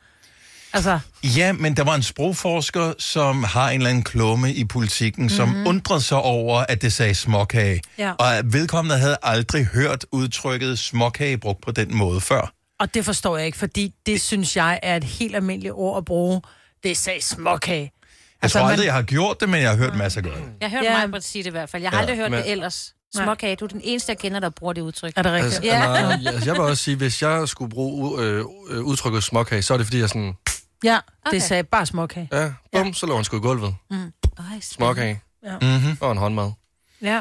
Altså,
Ja, men der var en sprogforsker, som har en eller anden klumme i politikken, mm-hmm. som
Mhm.
undrede sig over, at det sagde småkage.
Ja.
Og at vedkommende havde aldrig hørt udtrykket småkage brugt på den måde før.
og det forstår jeg ikke, fordi det synes jeg er et helt almindeligt ord at bruge. Det sagde småkage.
Jeg altså, tror
man- Mm.
aldrig, jeg har gjort det, men jeg har hørt masser gøre det.
Jeg hørte ja. mig sige det i hvert fald. Jeg har
Ja,
ja, aldrig hørt
men-
men... det ellers. Småkage, du er den eneste, jeg kender, der bruger det udtryk.
Er det
Altså, ja. nej, altså, jeg vil også sige, hvis jeg skulle bruge u- øh, øh, udtrykket småkage, så er det fordi, jeg sådan,
Ja, okay. det sagde bare småkage.
ja, bum, ja. så lå han sgu i gulvet.
Mm.
Småkage.
Ja.
Mm-hmm.
Og en håndmad.
ja.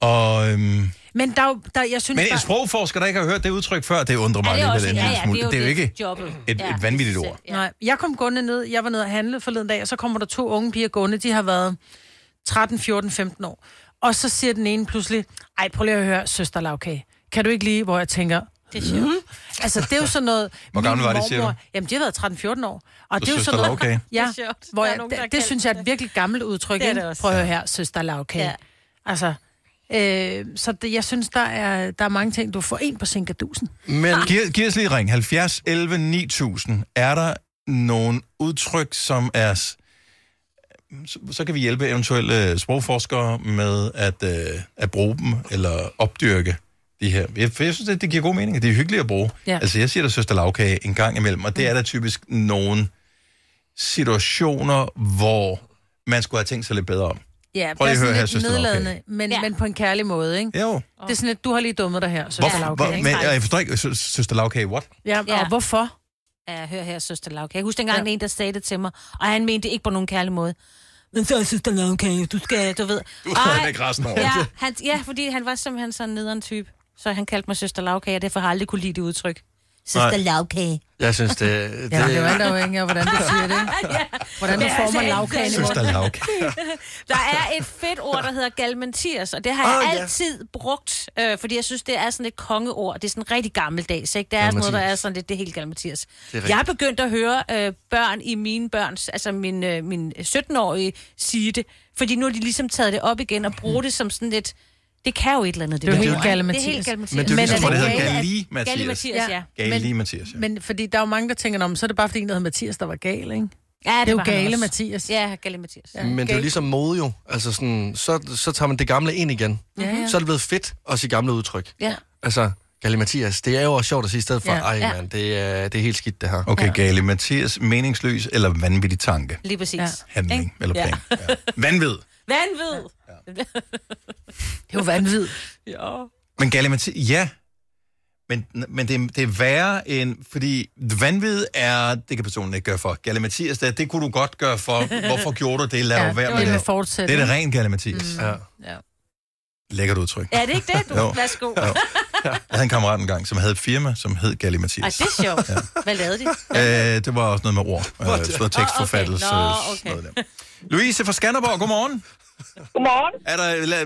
Og, øhm,
Men der, er jo- der jeg synes
men en
bare...
sprogforsker, der ikke har hørt det udtryk før, det undrer mig
Ja, det er
alligevel
også-
en
ja,
lille
ja,
smule.
det er jo
Det er jo
lidt
ikke
jobbet.
et,
Ja,
et vanvittigt ord.
Ja. Nej, jeg kom gående ned, jeg var nede og handle forleden dag, og så kommer der to unge piger gående, de har været 13, 14, 15 år. Og så siger den ene pludselig, ej, prøv lige at høre, søster lavkage. Kan du ikke lige, hvor jeg tænker, det
siger
hmm? Altså, det er jo sådan noget...
Hvor
min
gamle var de, siger
mormor-
du?
Jamen, de har været 13-14 år.
Så
Og det er jo
søster
sådan noget...
lavkage.
Ja,
Det er sjovt.
hvor
Der er
jeg,
nogen, der
det,
har
det
kaldt
synes jeg er et virkelig gammelt udtryk.
Det er
ikke?
det også.
Prøv at høre her, søster lavkage.
Ja.
Ja. Altså, øh, så det, jeg synes, der er, der er mange ting, du får en på sinkadusen.
Men... Giv, giv os lige et ring. 70 11 9000. Er der nogle udtryk, som er... s- Så, så kan vi hjælpe eventuelle sprogforskere med at, øh, at bruge dem, eller opdyrke de her. Jeg, for jeg synes, at det giver god mening, og det er hyggeligt at bruge.
Ja. Mm.
Altså, jeg siger der søster lavkage en gang imellem, og det er der typisk nogle situationer, hvor man skulle have tænkt sig lidt bedre om.
Ja,
Prøv lige at høre
sådan
her,
lidt
søster Lavkage.
nedladende, men, ja. men på en kærlig måde, ikke?
Jo.
Det er sådan lidt, du har lige dummet dig her, søster
Hvorfor, hvor,
Lavkage.
men, jeg forstår ikke, sø- søster lavkage, what?
Ja, og ja. hvorfor?
Ja, hør her, søster Lavkage. Jeg husker engang, ja. en, der sagde det til mig, og han mente det ikke på nogen kærlig måde. Men så, søster Lavkage, du skal, du ved...
Du er
Ej,
ikke resten over.
Ja, han, ja, fordi han var simpelthen sådan en nederen type. Så han kaldte mig søster Lavkage, og derfor har jeg aldrig kunne lide det udtryk. Søster
Nej.
Lavkage.
Jeg synes, det... det,
Ja, det er jo alt afhængigt af, hvordan du siger det.
ja.
Hvordan du
Ja,
former
altså,
lavkagen i
Søster
munden.
Der er et fedt ord, der hedder galmentiers, og det har jeg
Åh,
oh,
ja.
altid brugt, øh, fordi jeg synes, det er sådan et kongeord. Det er sådan rigtig gammeldags, ikke? Der er sådan noget, der er
Galimatias.
sådan lidt, det er helt galmentiers.
er rigtigt.
Jeg er begyndt at høre øh, børn i mine børns, altså min, øh, min 17-årige, sige det, fordi nu har de ligesom taget det op igen og bruger det som sådan lidt... Det kan jo et eller andet, det,
Det er jo
der
helt
ord, ikke?
galimatias.
Det er helt galmatias.
Men det er jo
Men
ligesom,
er
hvor det
det
hedder
gale, at-
Gali
Gali Mathias.
Mathias, ja.
Gali
Men-
Mathias, ja.
Men fordi der er jo mange, der tænker, om så er det bare fordi, den hedder Mathias, der var gal, ikke?
Ja, det,
det er jo
var han
gale
også.
Mathias.
Ja, gale Mathias.
Men det er jo ligesom mode jo. Altså sådan, så, så tager man det gamle ind igen.
Ja, ja.
Så er det blevet fedt at sige gamle udtryk.
Ja.
Altså, Galle Mathias, det er jo også sjovt at sige i stedet for,
Ja.
ja. ej
Ja.
mand, det er, det er helt skidt det her.
Okay, gale Mathias, meningsløs eller vanvittig tanke?
Lige præcis.
Ja.
Handling
Ikke?
eller plan. Ja. Vanvid.
Vanvid! Ja.
Det er jo vanvid.
ja.
Men gale Mathias, ja. Men, men det, er- det er værre end, fordi vanvid er, det kan personen ikke gøre for. Gale Mathias, det, det kunne du godt gøre for. Hvorfor gjorde du det? Lad
Ja,
ja, være
det
med
var
det.
med fortsæt,
det er det
ikke?
rent gale Mathias. Mm. Ja.
Ja.
Lækkert udtryk.
Er det ikke det, du?
Jo.
Værsgo.
Jo. Jeg havde en kammerat engang, som havde et firma, som hed Galli Mathias.
Ej, det er sjovt. Hvad lavede de?
Øh, det var også noget med ord. Øh,
Hvor det-
sådan noget tekstforfattelse.
Nå,
Okay.
okay. Nå, okay.
Louise fra Skanderborg, godmorgen.
Godmorgen.
Er der, la,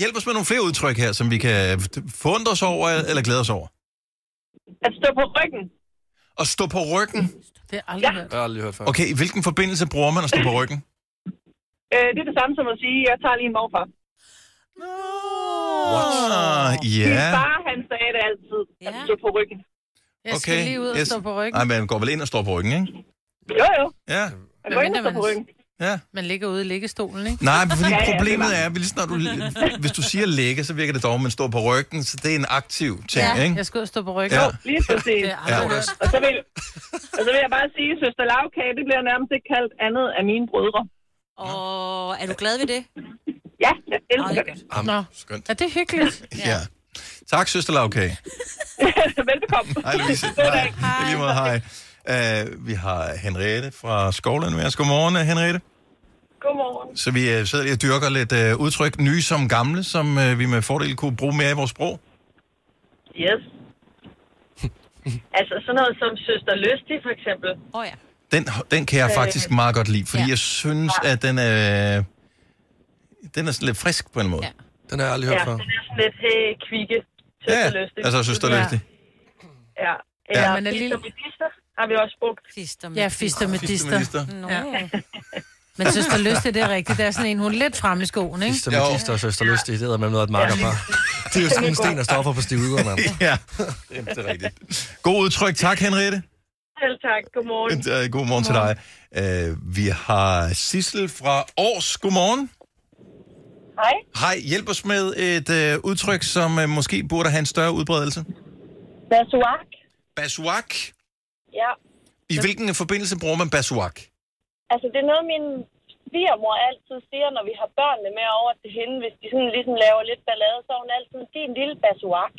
hjælp os med nogle flere udtryk her, som vi kan forundre os over eller glæde os over.
At stå på ryggen.
At stå på ryggen?
Det har jeg aldrig
Jeg har aldrig hørt før.
Okay, i hvilken forbindelse bruger man at stå på ryggen?
Øh, det er det samme som at sige, jeg tager lige en morfar.
Ah,
Min
ja,
far, han sagde det altid, at stå på ryggen.
Jeg skal
okay.
lige ud og
Yes.
stå på ryggen.
Nej, man går vel ind og står på ryggen, ikke?
Jo, jo.
Ja.
Jeg går ind og står på ryggen.
Ja.
Man ligger ude i liggestolen, ikke?
Nej, men fordi
Ja, ja, det var-
problemet er, at lige snart du, hvis du siger lægge, så virker det dog, at man står på ryggen, så det er en aktiv ting,
ja,
ikke?
Jeg skal ud og stå på ryggen.
Ja.
Lige præcis.
aldrig Ja. hørt.
Og, så vil, og så vil jeg bare sige, søster lavkage, det bliver nærmest ikke kaldt andet af mine brødre.
Og er du glad ved det?
Ja, jeg elsker det.
Am,
Nå.
Skønt.
Er det hyggeligt?
Ja. Tak, søster Lavkage.
Velbekomme.
Hej, Louise. Hej. I lige måde, hej. Uh, vi har Henriette fra Skovland med os. Godmorgen, Henriette.
Godmorgen.
Så vi uh, sidder lige og dyrker lidt uh, udtryk, nye som gamle, som uh, vi med fordel kunne bruge mere i vores sprog.
Yes. altså sådan noget som Søster Lystig, for eksempel.
Åh oh, ja.
Den, den kan jeg
Øh,
faktisk meget godt lide, fordi
ja.
jeg synes, at den er, den er sådan lidt frisk på en måde.
Den har jeg aldrig
Ja,
hørt før.
den er sådan lidt hey, kvikke.
Ja,
Søster Lystig.
altså søster Lystig.
Ja. Eller ja, men er lille... har vi også brugt.
Fister
Ja, fister med dister.
dister.
Nå. Men søster Lyst, det er rigtigt. Det er sådan en, hun er lidt fremme i skoen, ikke?
Søster med tister og søster lyst, det hedder man noget et makkerpar. Det er jo sådan en sten, der står for på stivuder, mand.
Ja, Jamen, det er rigtigt. God udtryk. Tak, Henriette.
Selv tak. Godmorgen.
Øh, Godmorgen til dig. Uh, vi har Sissel fra Års. Godmorgen.
Hej.
Hej, hjælp os med et øh, udtryk, som øh, måske burde have en større udbredelse.
Basuak.
Basuak.
Ja,
I hvilken forbindelse bruger man basuak?
altså det er noget, min svigermor altid siger, når vi har børnene med over til hende, hvis de sådan ligesom laver lidt ballade, så er hun altid din lille basuak.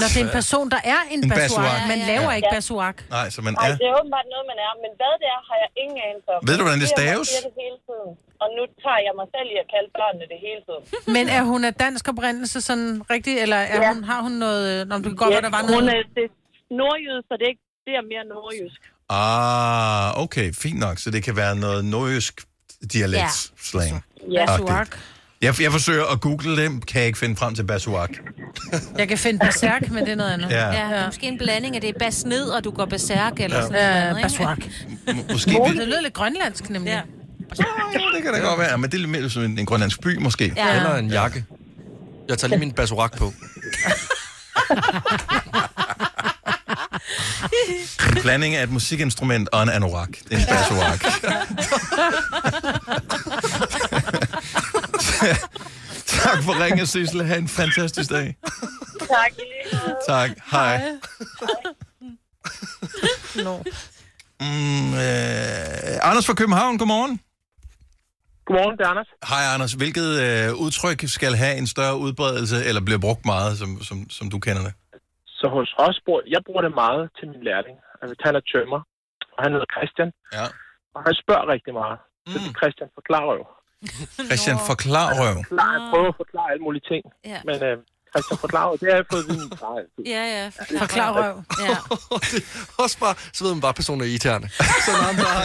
Når det er en person, der er en,
En
basuak.
basuak.
Man
Ja, ja, ja.
laver ikke
Ja.
basuak.
Nej, så man
Nej,
er...
det er åbenbart noget, man er, men hvad det er, har jeg ingen anelse om.
Ved du, hvordan det
Min svigermor
staves?
siger det hele tiden, og nu tager jeg mig selv i at kalde børnene det hele tiden.
Men er hun af dansk oprindelse sådan rigtig, eller er
Ja.
hun, har hun noget... øh, Nå, men det kan godt
Ja,
være, der var
hun
noget...
er det er nordjyde, så det er, ikke, det er mere nordjysk.
Ah, okay, fint nok. Så det kan være noget nordjysk dialekt slang.
Ja.
Agtigt. Jeg, jeg forsøger at google det, kan jeg ikke finde frem til basuak.
Jeg kan finde berserk, men det er noget andet.
Ja.
Ja, måske en blanding af det er bas ned, og du går berserk, eller
Ja.
sådan noget.
Ja,
ikke?
basuak.
Måske
Morten,
vi-
Det lyder lidt grønlandsk, nemlig. Ja.
Det kan da godt være, men det er lidt mere som en, en grønlandsk by, måske.
Ja. Eller
en jakke. Jeg tager lige min basurak på.
En blanding af et musikinstrument og en anorak. Det er en basuak. tak for ringen, Sissel. Ha' en fantastisk dag.
Tak. i lige måde.
Tak. Hej.
Nå.
Mm, øh, Anders fra København, godmorgen.
Godmorgen, det er Anders.
Hej Anders. Hvilket øh, udtryk skal have en større udbredelse, eller bliver brugt meget, som, som, som du kender det?
Så hos os bruger, jeg bruger det meget til min lærling. Altså, han er tømmer, og han hedder Christian.
Ja. Mm.
Og han spørger rigtig meget. Så det Christian forklarer jo.
Christian, forklar røv.
Klar, jeg prøver at forklare alle mulige ting.
Ja.
Men øh, Christian forklarer, det har jeg fået viden fra. altid.
Ja, ja.
Forklar røv.
Ja.
det, er også bare, så ved man bare, at personen er irriterende. Så når han bare,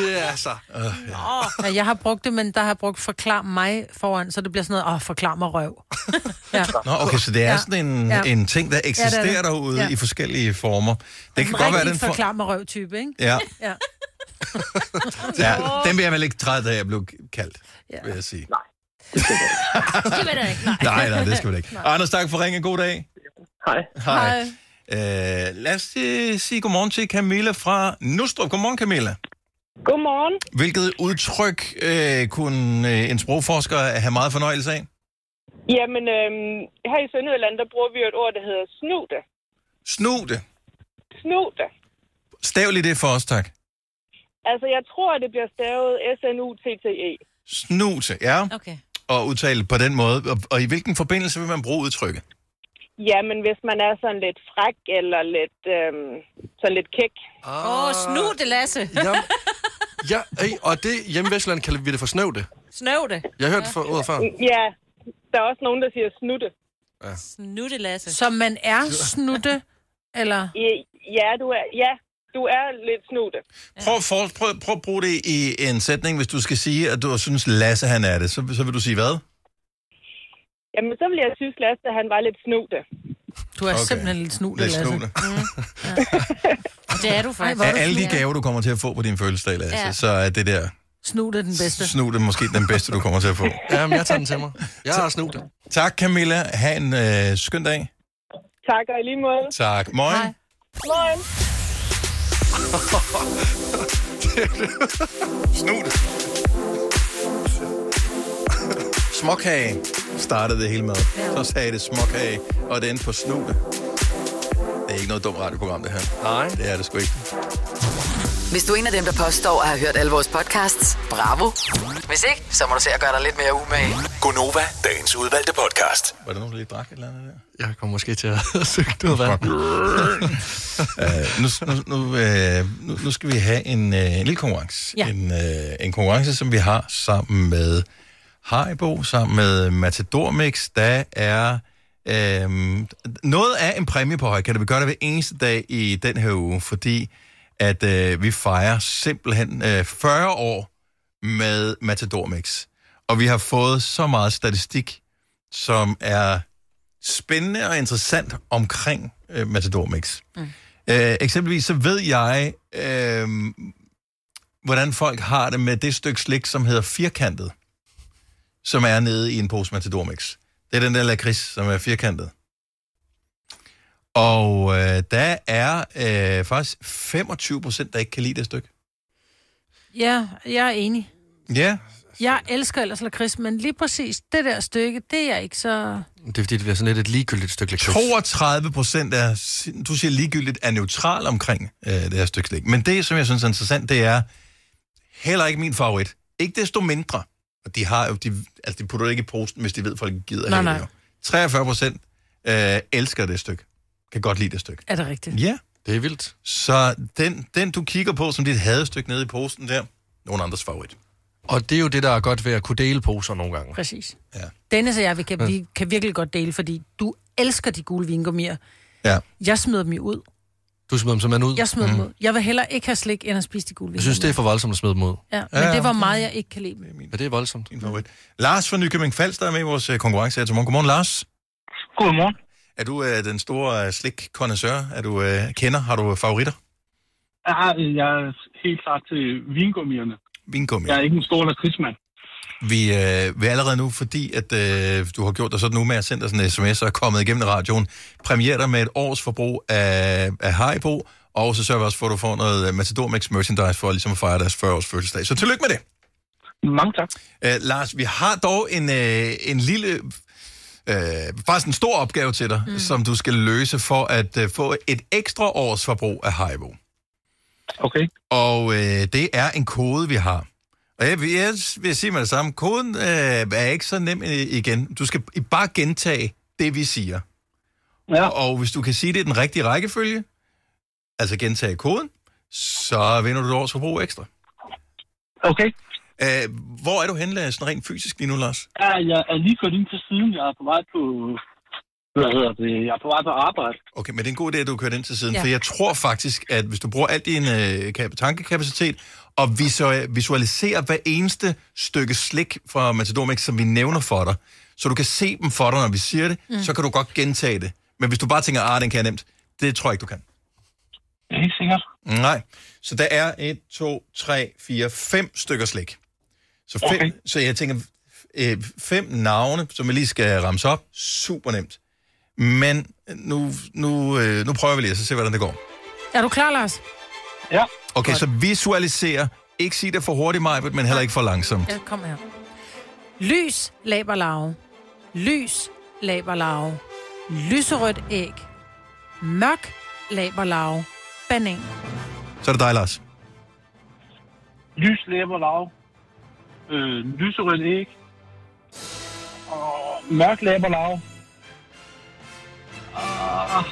det er altså- så.
Øh,
Ja, jeg har brugt det, men der har jeg brugt forklar mig foran, så det bliver sådan noget, åh, forklar mig røv. Ja.
Nå, okay, så det er
Ja.
sådan en,
Ja.
en ting, der
Ja, det er
eksisterer
det.
derude
Ja.
i forskellige former. Det kan
En
godt være,
rigtig
den for...
forklar mig røv-type, ikke?
Ja.
ja.
Ja, den vil jeg vel ikke træde af, jeg blev kaldt, ja. vil jeg sige. Nej.
Det ved jeg ikke.
Nej, nej, det skal vi da ikke. Nej. Anders, tak for ringen. God dag.
Hej.
Hej. Øh, lad os øh, sige godmorgen til Camilla fra Nustrup. Godmorgen, Camilla.
Godmorgen.
Hvilket udtryk øh, kunne øh, en sprogforsker have meget fornøjelse af?
Jamen, øhm, her i Sønderjylland, der bruger vi jo et ord, der hedder snute.
Snude.
Snute.
Stav lige det for os, tak.
Altså, jeg tror, at det bliver stavet
E.
S-N-U-T-T-E.
Snute, ja.
Okay.
Og udtale på den måde. Og, og i hvilken forbindelse vil man bruge udtrykket?
Jamen, hvis man er sådan lidt fræk eller lidt, øhm, sådan lidt kæk.
Åh, oh, snu det, Lasse.
Jamen, ja, ey, og det hjemme i Vestland kalder vi det for snøvde.
Snøv det.
Jeg har hørt for ordet før.
Ja, der er også nogen, der siger snutte.
Ja.
Snutte, Lasse.
Så man er snutte, eller?
Ja, du er, ja, du er lidt snutte.
Prøv, for, prøv, prøv at bruge det i en sætning, hvis du skal sige, at du synes, Lasse han er det. Så, så vil du sige hvad?
Jamen, så ville jeg synes, Lasse, at han var lidt snutte.
Du er okay. simpelthen lidt snutte,
Lidt
Lasse.
snutte.
Det er du faktisk.
Af alle de gaver, du kommer til at få på din fødselsdag, Lasse,
Ja.
ja. så er det der
Snutte er den bedste.
snute måske den bedste, du kommer til at få.
Jamen, jeg tager den til mig. Jeg har snudt den.
Tak, Camilla. Ha' en øh, skøn dag.
Tak, og i lige måde.
Tak. Morgen. Hej.
Morgen.
Snutte. Småkage startede det hele med. Så sagde det småkage, og det endte på snutte. Det er ikke noget dumt radioprogram, det her. Nej. Det er det sgu ikke.
Hvis du er en af dem, der påstår at have hørt alle vores podcasts, bravo. Hvis ikke, så må du se at gøre dig lidt mere umage.
Gonova, dagens udvalgte podcast.
Var der nogen, der lige drak et eller andet der?
Jeg kommer måske til at søge ud af vand.
Uh, nu, nu, nu, øh, nu, nu skal vi have en, øh, en lille konkurrence.
Ja.
En, øh, en konkurrence, som vi har sammen med Haribo, sammen med Matador Mix. Der er øh, noget af en præmie på høj. Kan vi gøre det hver eneste dag i den her uge, fordi at øh, vi fejrer simpelthen øh, 40 år med Matador Mix. Og vi har fået så meget statistik, som er spændende og interessant omkring øh, Matador Mix.
Mm.
Øh, eksempelvis så ved jeg, øh, hvordan folk har det med det stykke slik, som hedder firkantet, som er nede i en pose Matador Mix. Det er den der lakrids, som er firkantet. Og øh, der er øh, faktisk 25 procent, der ikke kan lide det stykke.
Ja, jeg er enig.
Ja,
Jeg elsker ellers lakrids, men lige præcis det der stykke, det er jeg ikke så...
Det er fordi, det bliver sådan lidt et ligegyldigt stykke lakrids.
32 procent er, du siger ligegyldigt, er neutral omkring øh, det her stykke slik. Men det, som jeg synes er interessant, det er heller ikke min favorit. Ikke desto mindre. Og de har jo, de, altså de putter det ikke i posten, hvis de ved, at folk gider
Nej,
have det
nej.
jo. 43 procent øh, elsker det stykke. Kan godt lide det stykke.
Er det rigtigt?
Ja.
Det er vildt.
Så den, den du kigger på som dit hadestykke nede i posten der, nogen andres favorit.
Og det er jo det, der er godt ved at kunne dele poser nogle gange.
Præcis.
Ja.
Dennis og jeg, vi kan,
Ja.
vi kan virkelig godt dele, fordi du elsker de gule vingummier.
Ja.
Jeg smider dem jo ud.
Du smider dem simpelthen ud? Mhm.
Jeg smider
Mm.
dem ud. Jeg vil hellere ikke have slik, end at spise de gule
Jeg synes, det er for voldsomt at smide dem ud.
Ja, men
Ja,
det var
okay.
meget, jeg ikke kan lide. dem.
Men det er voldsomt.
Din favorit. Lars fra Nykøbing Falster er med i vores øh, konkurrence her til morgen. Godmorgen, Lars.
Godmorgen.
Er du øh, den store øh, slik Er du øh, kender? Har du øh, favoritter?
Jeg, har, øh, jeg er helt klart til vingummierne.
Vingummier.
Jeg er ikke en stor lakridsmand.
Vi øh, vil allerede nu, fordi at øh, du har gjort dig sådan nu med at sende dig sådan en sms og er kommet igennem radioen, premiere dig med et års forbrug af, af Haribo, og så sørger vi også for, at du får noget øh, Matador Mix merchandise for ligesom at fejre deres 40-års fødselsdag. Så tillykke med det.
Mange tak.
Øh, Lars, vi har dog en, øh, en lille, øh, faktisk en stor opgave til dig, mm. som du skal løse for at øh, få et ekstra års forbrug af Haribo.
Okay.
Og øh, det er en kode, vi har. Og jeg vil, jeg vil sige med det samme, koden øh, er ikke så nem øh, igen. Du skal i- bare gentage det, vi siger.
Ja.
Og hvis du kan sige det i den rigtige rækkefølge, altså gentage koden, så vinder du et års forbrug ekstra.
Okay.
Øh, hvor er du henne sådan rent fysisk lige nu, Lars?
Ja, jeg er lige kørt ind til siden. Jeg er på vej på... Hvad hedder det? Jeg er på vej på arbejde.
Okay, men det er en god idé, at du kører ind til siden,
Ja.
ja. for jeg tror faktisk, at hvis du bruger al din øh, kap- tankekapacitet og visu- visualiserer hver eneste stykke slik fra Matador Mix, som vi nævner for dig, så du kan se dem for dig, når vi siger det,
Mm.
mm. så kan du godt gentage det. Men hvis du bare tænker, ah, den kan jeg nemt, det tror jeg ikke, du kan.
Det er helt sikkert.
Nej. Så der er 1, 2, 3, 4, 5 stykker slik. Så, fem, okay. så jeg tænker, øh, fem navne, som jeg lige skal ramse op, super nemt. Men nu, nu, øh, nu prøver vi lige, og så se, hvordan det går.
Er du klar, Lars?
Ja.
Okay, så visualiser. Ikke sig det for hurtigt, Majbet, men heller ikke for langsomt.
Ja, kom her. Lys, laber, larve. Lys, laber, larve. Lyserødt æg. Mørk, laber, larve. Banan.
Så er det dig, Lars.
Lys læber lav. Øh, lyserødt æg. Og mørk læber lav. Ah,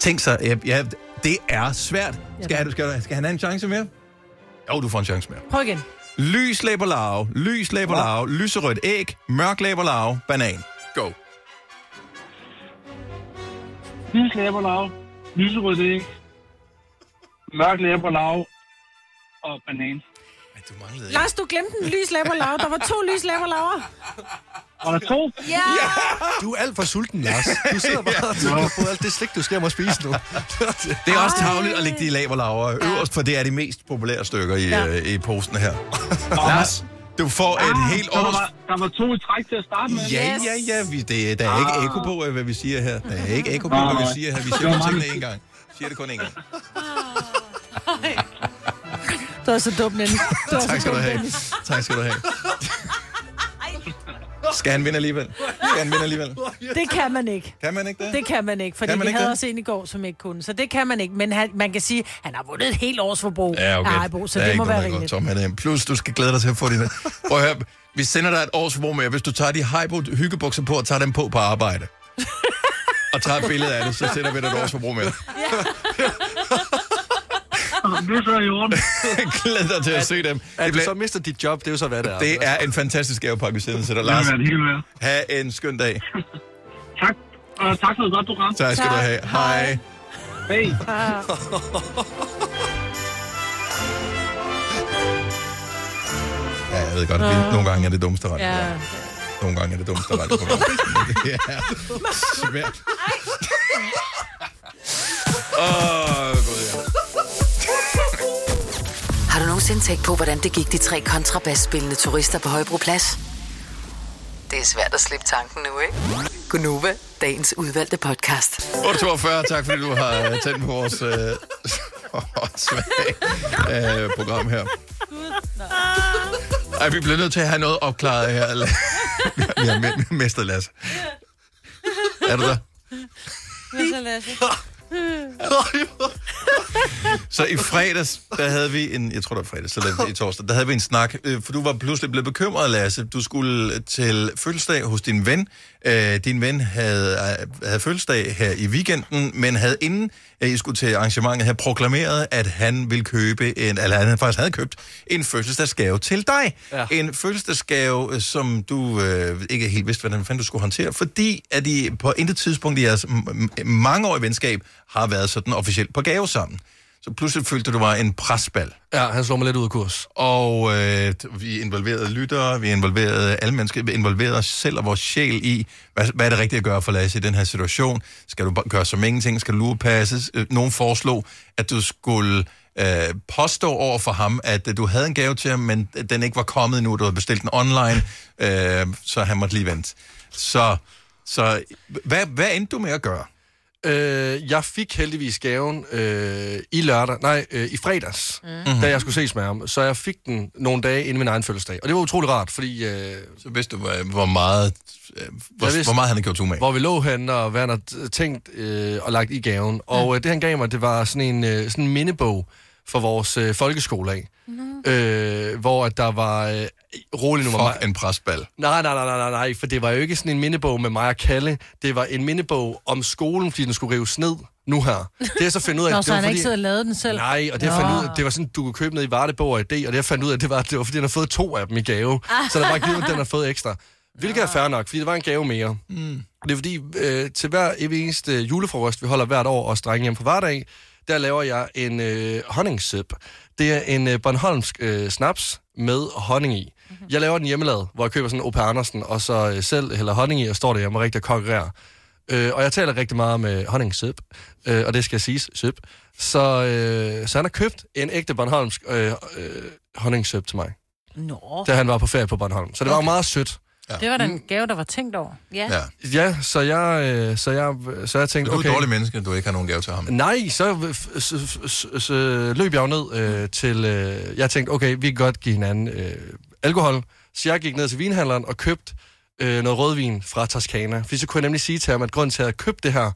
Tænk så, ja, ja, det er svært. Skal, du, skal, du- skal han have en chance mere? Jo, du får en chance mere.
Prøv igen.
Lys læberlarve, lys læberlarve, lyserødt æg, mørk læberlarve, banan. Go.
Lys læberlav, lyserødt æg, mørk læberlav og banan.
Lars, du glemte en lys læberlav. Der var to lys læberlaver.
Og der er to.
Ja!
Du er alt for sulten, Lars. Du sidder bare og tænker på alt det slik, du skal hjem og spise nu.
Det er også tavligt at lægge de i laverlaver øverst, for det er de mest populære stykker i,
Ja.
ja. i posten her. Lars, du får en helt
Ah, der,
års...
var, der var to i træk til at starte med.
Ja, ja, ja. Vi, det, der er ikke ekko på, øh, hvad vi siger her. Der er ikke ekko på,
Ah. Nej,
hvad vi
nej.
siger her. Vi
Det
siger
var
kun
meget
tingene én gang. Siger det kun én gang.
Du er så dum, Dennis. Du er så
Tak skal du
dum,
have.
Dennis.
Tak skal du have. Skal han vinde alligevel? Skal han vinde alligevel?
Det kan man ikke.
Kan man ikke det?
Det kan man ikke, fordi man
Kan man
vi
ikke
havde
det?
også en i går, som ikke kunne. Så det kan man ikke, men han, man kan sige, at han har vundet et helt års forbrug
Ja, okay.
af Ejbo, så
Der er
det
ikke
må
noget,
være
der går
rimeligt.
Tom, han er. Plus, du skal glæde dig til at få dine... Prøv at høre, vi sender dig et års forbrug med, hvis du tager de Heibo hyggebukser på og tager dem på på arbejde. og tager et billede af det, så sender vi dig et års forbrug med.
Det er så i orden.
Glæd dig til at se dem.
At du så mister dit job, det er jo så, hvad det er. altså.
Det er en fantastisk gavepakke, vi sender til dig,
Det vil
Lars.
være en hel verden.
Ha' en skøn dag.
Og Øh, tak for et godt program.
Tak skal du have. Hej.
Hej.
Ah.
Ja, jeg ved godt, at vi- nogle gange er det dummeste ret.
Ja.
Nogle gange er det dummeste ret. Det er svært. Åh, gud ja.
Har du nogensinde tænkt på, hvordan det gik de tre kontrabasspillende turister på Højbroplads? Det er svært at slippe tanken nu, ikke? Gunova, dagens udvalgte podcast.
842, tak fordi du har øh, tændt på vores øh, åndssvage, øh, program her. Ej, vi bliver nødt til at have noget opklaret her. Vi har me- mistet Lasse. Er du der?
Hvad så, Lasse?
Så i fredags, der havde vi en, jeg tror det var fredags, eller i torsdag, der havde vi en snak, øh, for du var pludselig blevet bekymret, Lasse. Du skulle øh, til fødselsdag hos din ven. Øh, Din ven havde, øh, havde fødselsdag her i weekenden, men havde inden øh, I skulle til arrangementet, havde proklameret, at han ville købe en, eller han faktisk havde købt en fødselsdagsgave til dig. Ja. En fødselsdagsgave, øh, som du øh, ikke helt vidste, hvordan fanden du skulle håndtere, fordi at I på intet tidspunkt i jeres m- m- mangeårige venskab har været sådan officielt på gave sammen. Så pludselig følte du, du var en presbal.
Ja, han slår mig lidt ud af kurs.
Og øh, vi involverede lyttere, vi involverede alle mennesker, vi involverede os selv og vores sjæl i, hvad, hvad er det rigtigt at gøre for Lasse i den her situation? Skal du bare gøre som ingenting? Skal du lurepasses? Øh, Nogen foreslog, at du skulle øh, påstå over for ham, at øh, du havde en gave til ham, men øh, den ikke var kommet endnu, du havde bestilt den online, øh, så han måtte lige vente. Så, så hvad, hvad endte du med at gøre?
Øh, jeg fik heldigvis gaven øh, i lørdag, nej, øh, i fredags, mm. da jeg skulle ses med ham. Så jeg fik den nogle dage inden min egen fødselsdag. Og det var utrolig rart, fordi... Øh,
så vidste du, hvor meget, øh, hvor, hvor meget han havde gjort umage.
Hvor vi lå henne, og hvad han havde tænkt øh, og lagt i gaven. Og øh, det han gav mig, det var sådan en, øh, sådan en mindebog for vores øh, folkeskole af. Mm. Øh, hvor at der var... Øh, rolig nu
Fuck en presbal.
Nej, nej, nej, nej, nej, nej, for det var jo ikke sådan en mindebog med mig og Kalle. Det var en mindebog om skolen, fordi den skulle rives ned nu her. Det er så fundet ud af,
Nå,
at
så
det var
han har ikke
fordi...
siddet og lavet den selv?
Nej, og det, jeg
Nå.
fandt ud af, det var sådan, du kunne købe ned i Vartebog og idé, og det jeg fandt ud af, det var, det var fordi, han har fået to af dem i gave.
Ah.
Så der var givet, at den har fået ekstra. Hvilket er fair nok, fordi det var en gave mere.
Mm.
Det er fordi, øh, til hver evig eneste julefrokost, vi holder hvert år og drenge hjem på hverdag, der laver jeg en øh, honningsip. Det er en øh, Bornholmsk øh, snaps med honning i. Mm-hmm. Jeg laver den hjemmelavet, hvor jeg køber sådan en O.P. Andersen, og så øh, selv hælder honning i, og står derhjemme og rigtig konkurrerer. Øh, og jeg taler rigtig meget med honningsip, øh, og det skal siges, sip. Så, øh, så han har købt en ægte Bornholmsk øh, øh, honningsip til mig,
Nå.
da han var på ferie på Bornholm. Så det var jo meget sødt.
Det var da en gave, der var tænkt over. Ja.
Ja, så jeg, øh, så jeg, så jeg tænkte,
Du er
okay...
et dårligt menneske, du ikke har nogen gave til ham.
Nej, så, f- s- f- s- s- løb jeg jo ned øh, til... Øh, jeg tænkte, okay, vi kan godt give hinanden øh, alkohol. Så jeg gik ned til vinhandleren og købte øh, noget rødvin fra Toscana. Fordi så kunne jeg nemlig sige til ham, at grunden til, at jeg købte det her,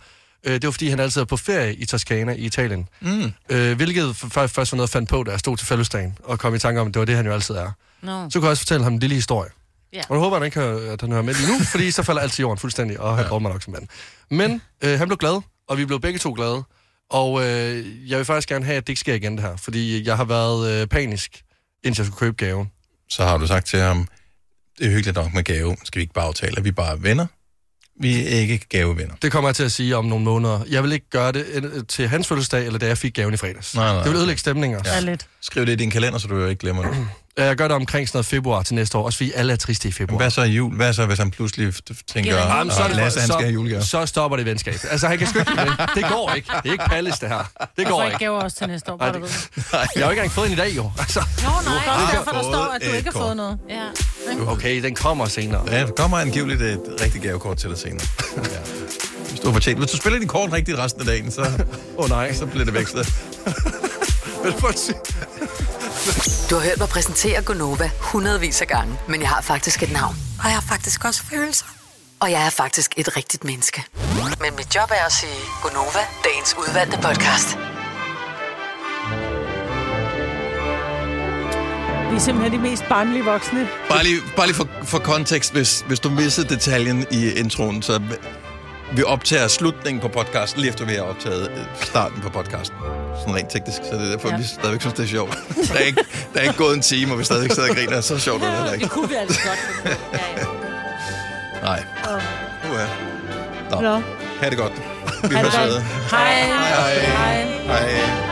øh, det var, fordi han altid er på ferie i Toscana i Italien.
Mm.
Øh, hvilket f- f- først var noget, jeg fandt på, da jeg stod til fællesdagen og kom i tanke om, at det var det, han jo altid er.
Mm.
Nå.
Så kunne jeg også fortælle ham en lille historie.
Ja.
Og nu håber jeg, at han, ikke hører, at han hører med lige nu, fordi så falder alt til jorden fuldstændig, og han ja. mig nok som mand. Men øh, han blev glad, og vi blev begge to glade. Og øh, jeg vil faktisk gerne have, at det ikke sker igen det her, fordi jeg har været øh, panisk, indtil jeg skulle købe gaven.
så har du sagt til ham, det er hyggeligt nok med gave, skal vi ikke bare aftale, at vi bare er venner? Vi er ikke gavevenner.
Det kommer jeg til at sige om nogle måneder. Jeg vil ikke gøre det øh, til hans fødselsdag, eller da jeg fik gaven i fredags.
Nej, nej.
det vil ødelægge stemninger.
Ja. Ja, lidt. Skriv det i din kalender, så du jo ikke glemmer det.
Ja, Jeg gør det omkring sådan noget februar til næste år, også fordi alle er triste i februar.
Hvad så i jul? Hvad så, hvis han pludselig f- tænker,
Jamen, så, er
at
det-
Lasse, han
så-
skal have julegave?
så stopper det venskab. Altså, han kan sgu ikke det. Det går ikke. Det er ikke Palles, det her. Det
Du får
går
ikke
ikke.
gaver også til næste år,
Nej,
Altså, bare du
det-
ved.
Jeg har jo ikke engang fået en i dag, jo. Altså,
Nå, nej, det er
har
derfor, der
fået
står, at du
et
ikke har
kort.
fået noget. Ja.
okay, den kommer senere.
Ja, der kommer angiveligt et rigtigt gavekort til dig senere. ja. Hvis du har fortjent. Hvis du spiller din kort rigtigt resten af dagen, så,
oh, nej.
så bliver det vekslet.
Vil du prøve at sige-
Du har hørt mig præsentere Gonova hundredvis af gange, men jeg har faktisk et navn. Og jeg har faktisk også følelser. Og jeg er faktisk et rigtigt menneske. Men mit job er at sige Gonova, dagens udvalgte podcast.
Vi er simpelthen de mest barnlige voksne.
Bare lige, bare lige for, for kontekst, hvis, hvis du missede detaljen i introen, så vi optager slutningen på podcasten, lige efter vi har optaget øh, starten på podcasten. Sådan rent teknisk, så det er derfor,
Ja.
ja. vi stadigvæk synes, det er sjovt. Der er ikke, der er ikke gået en time, og vi stadigvæk sidder og griner, så sjovt er det heller ikke.
Det kunne vi altså godt.
Nej.
Åh.
Uha. Nå.
Nå.
Ha' det godt. Vi
Ha' det
høres
godt.
ved.
Hej.
Hej. Hej.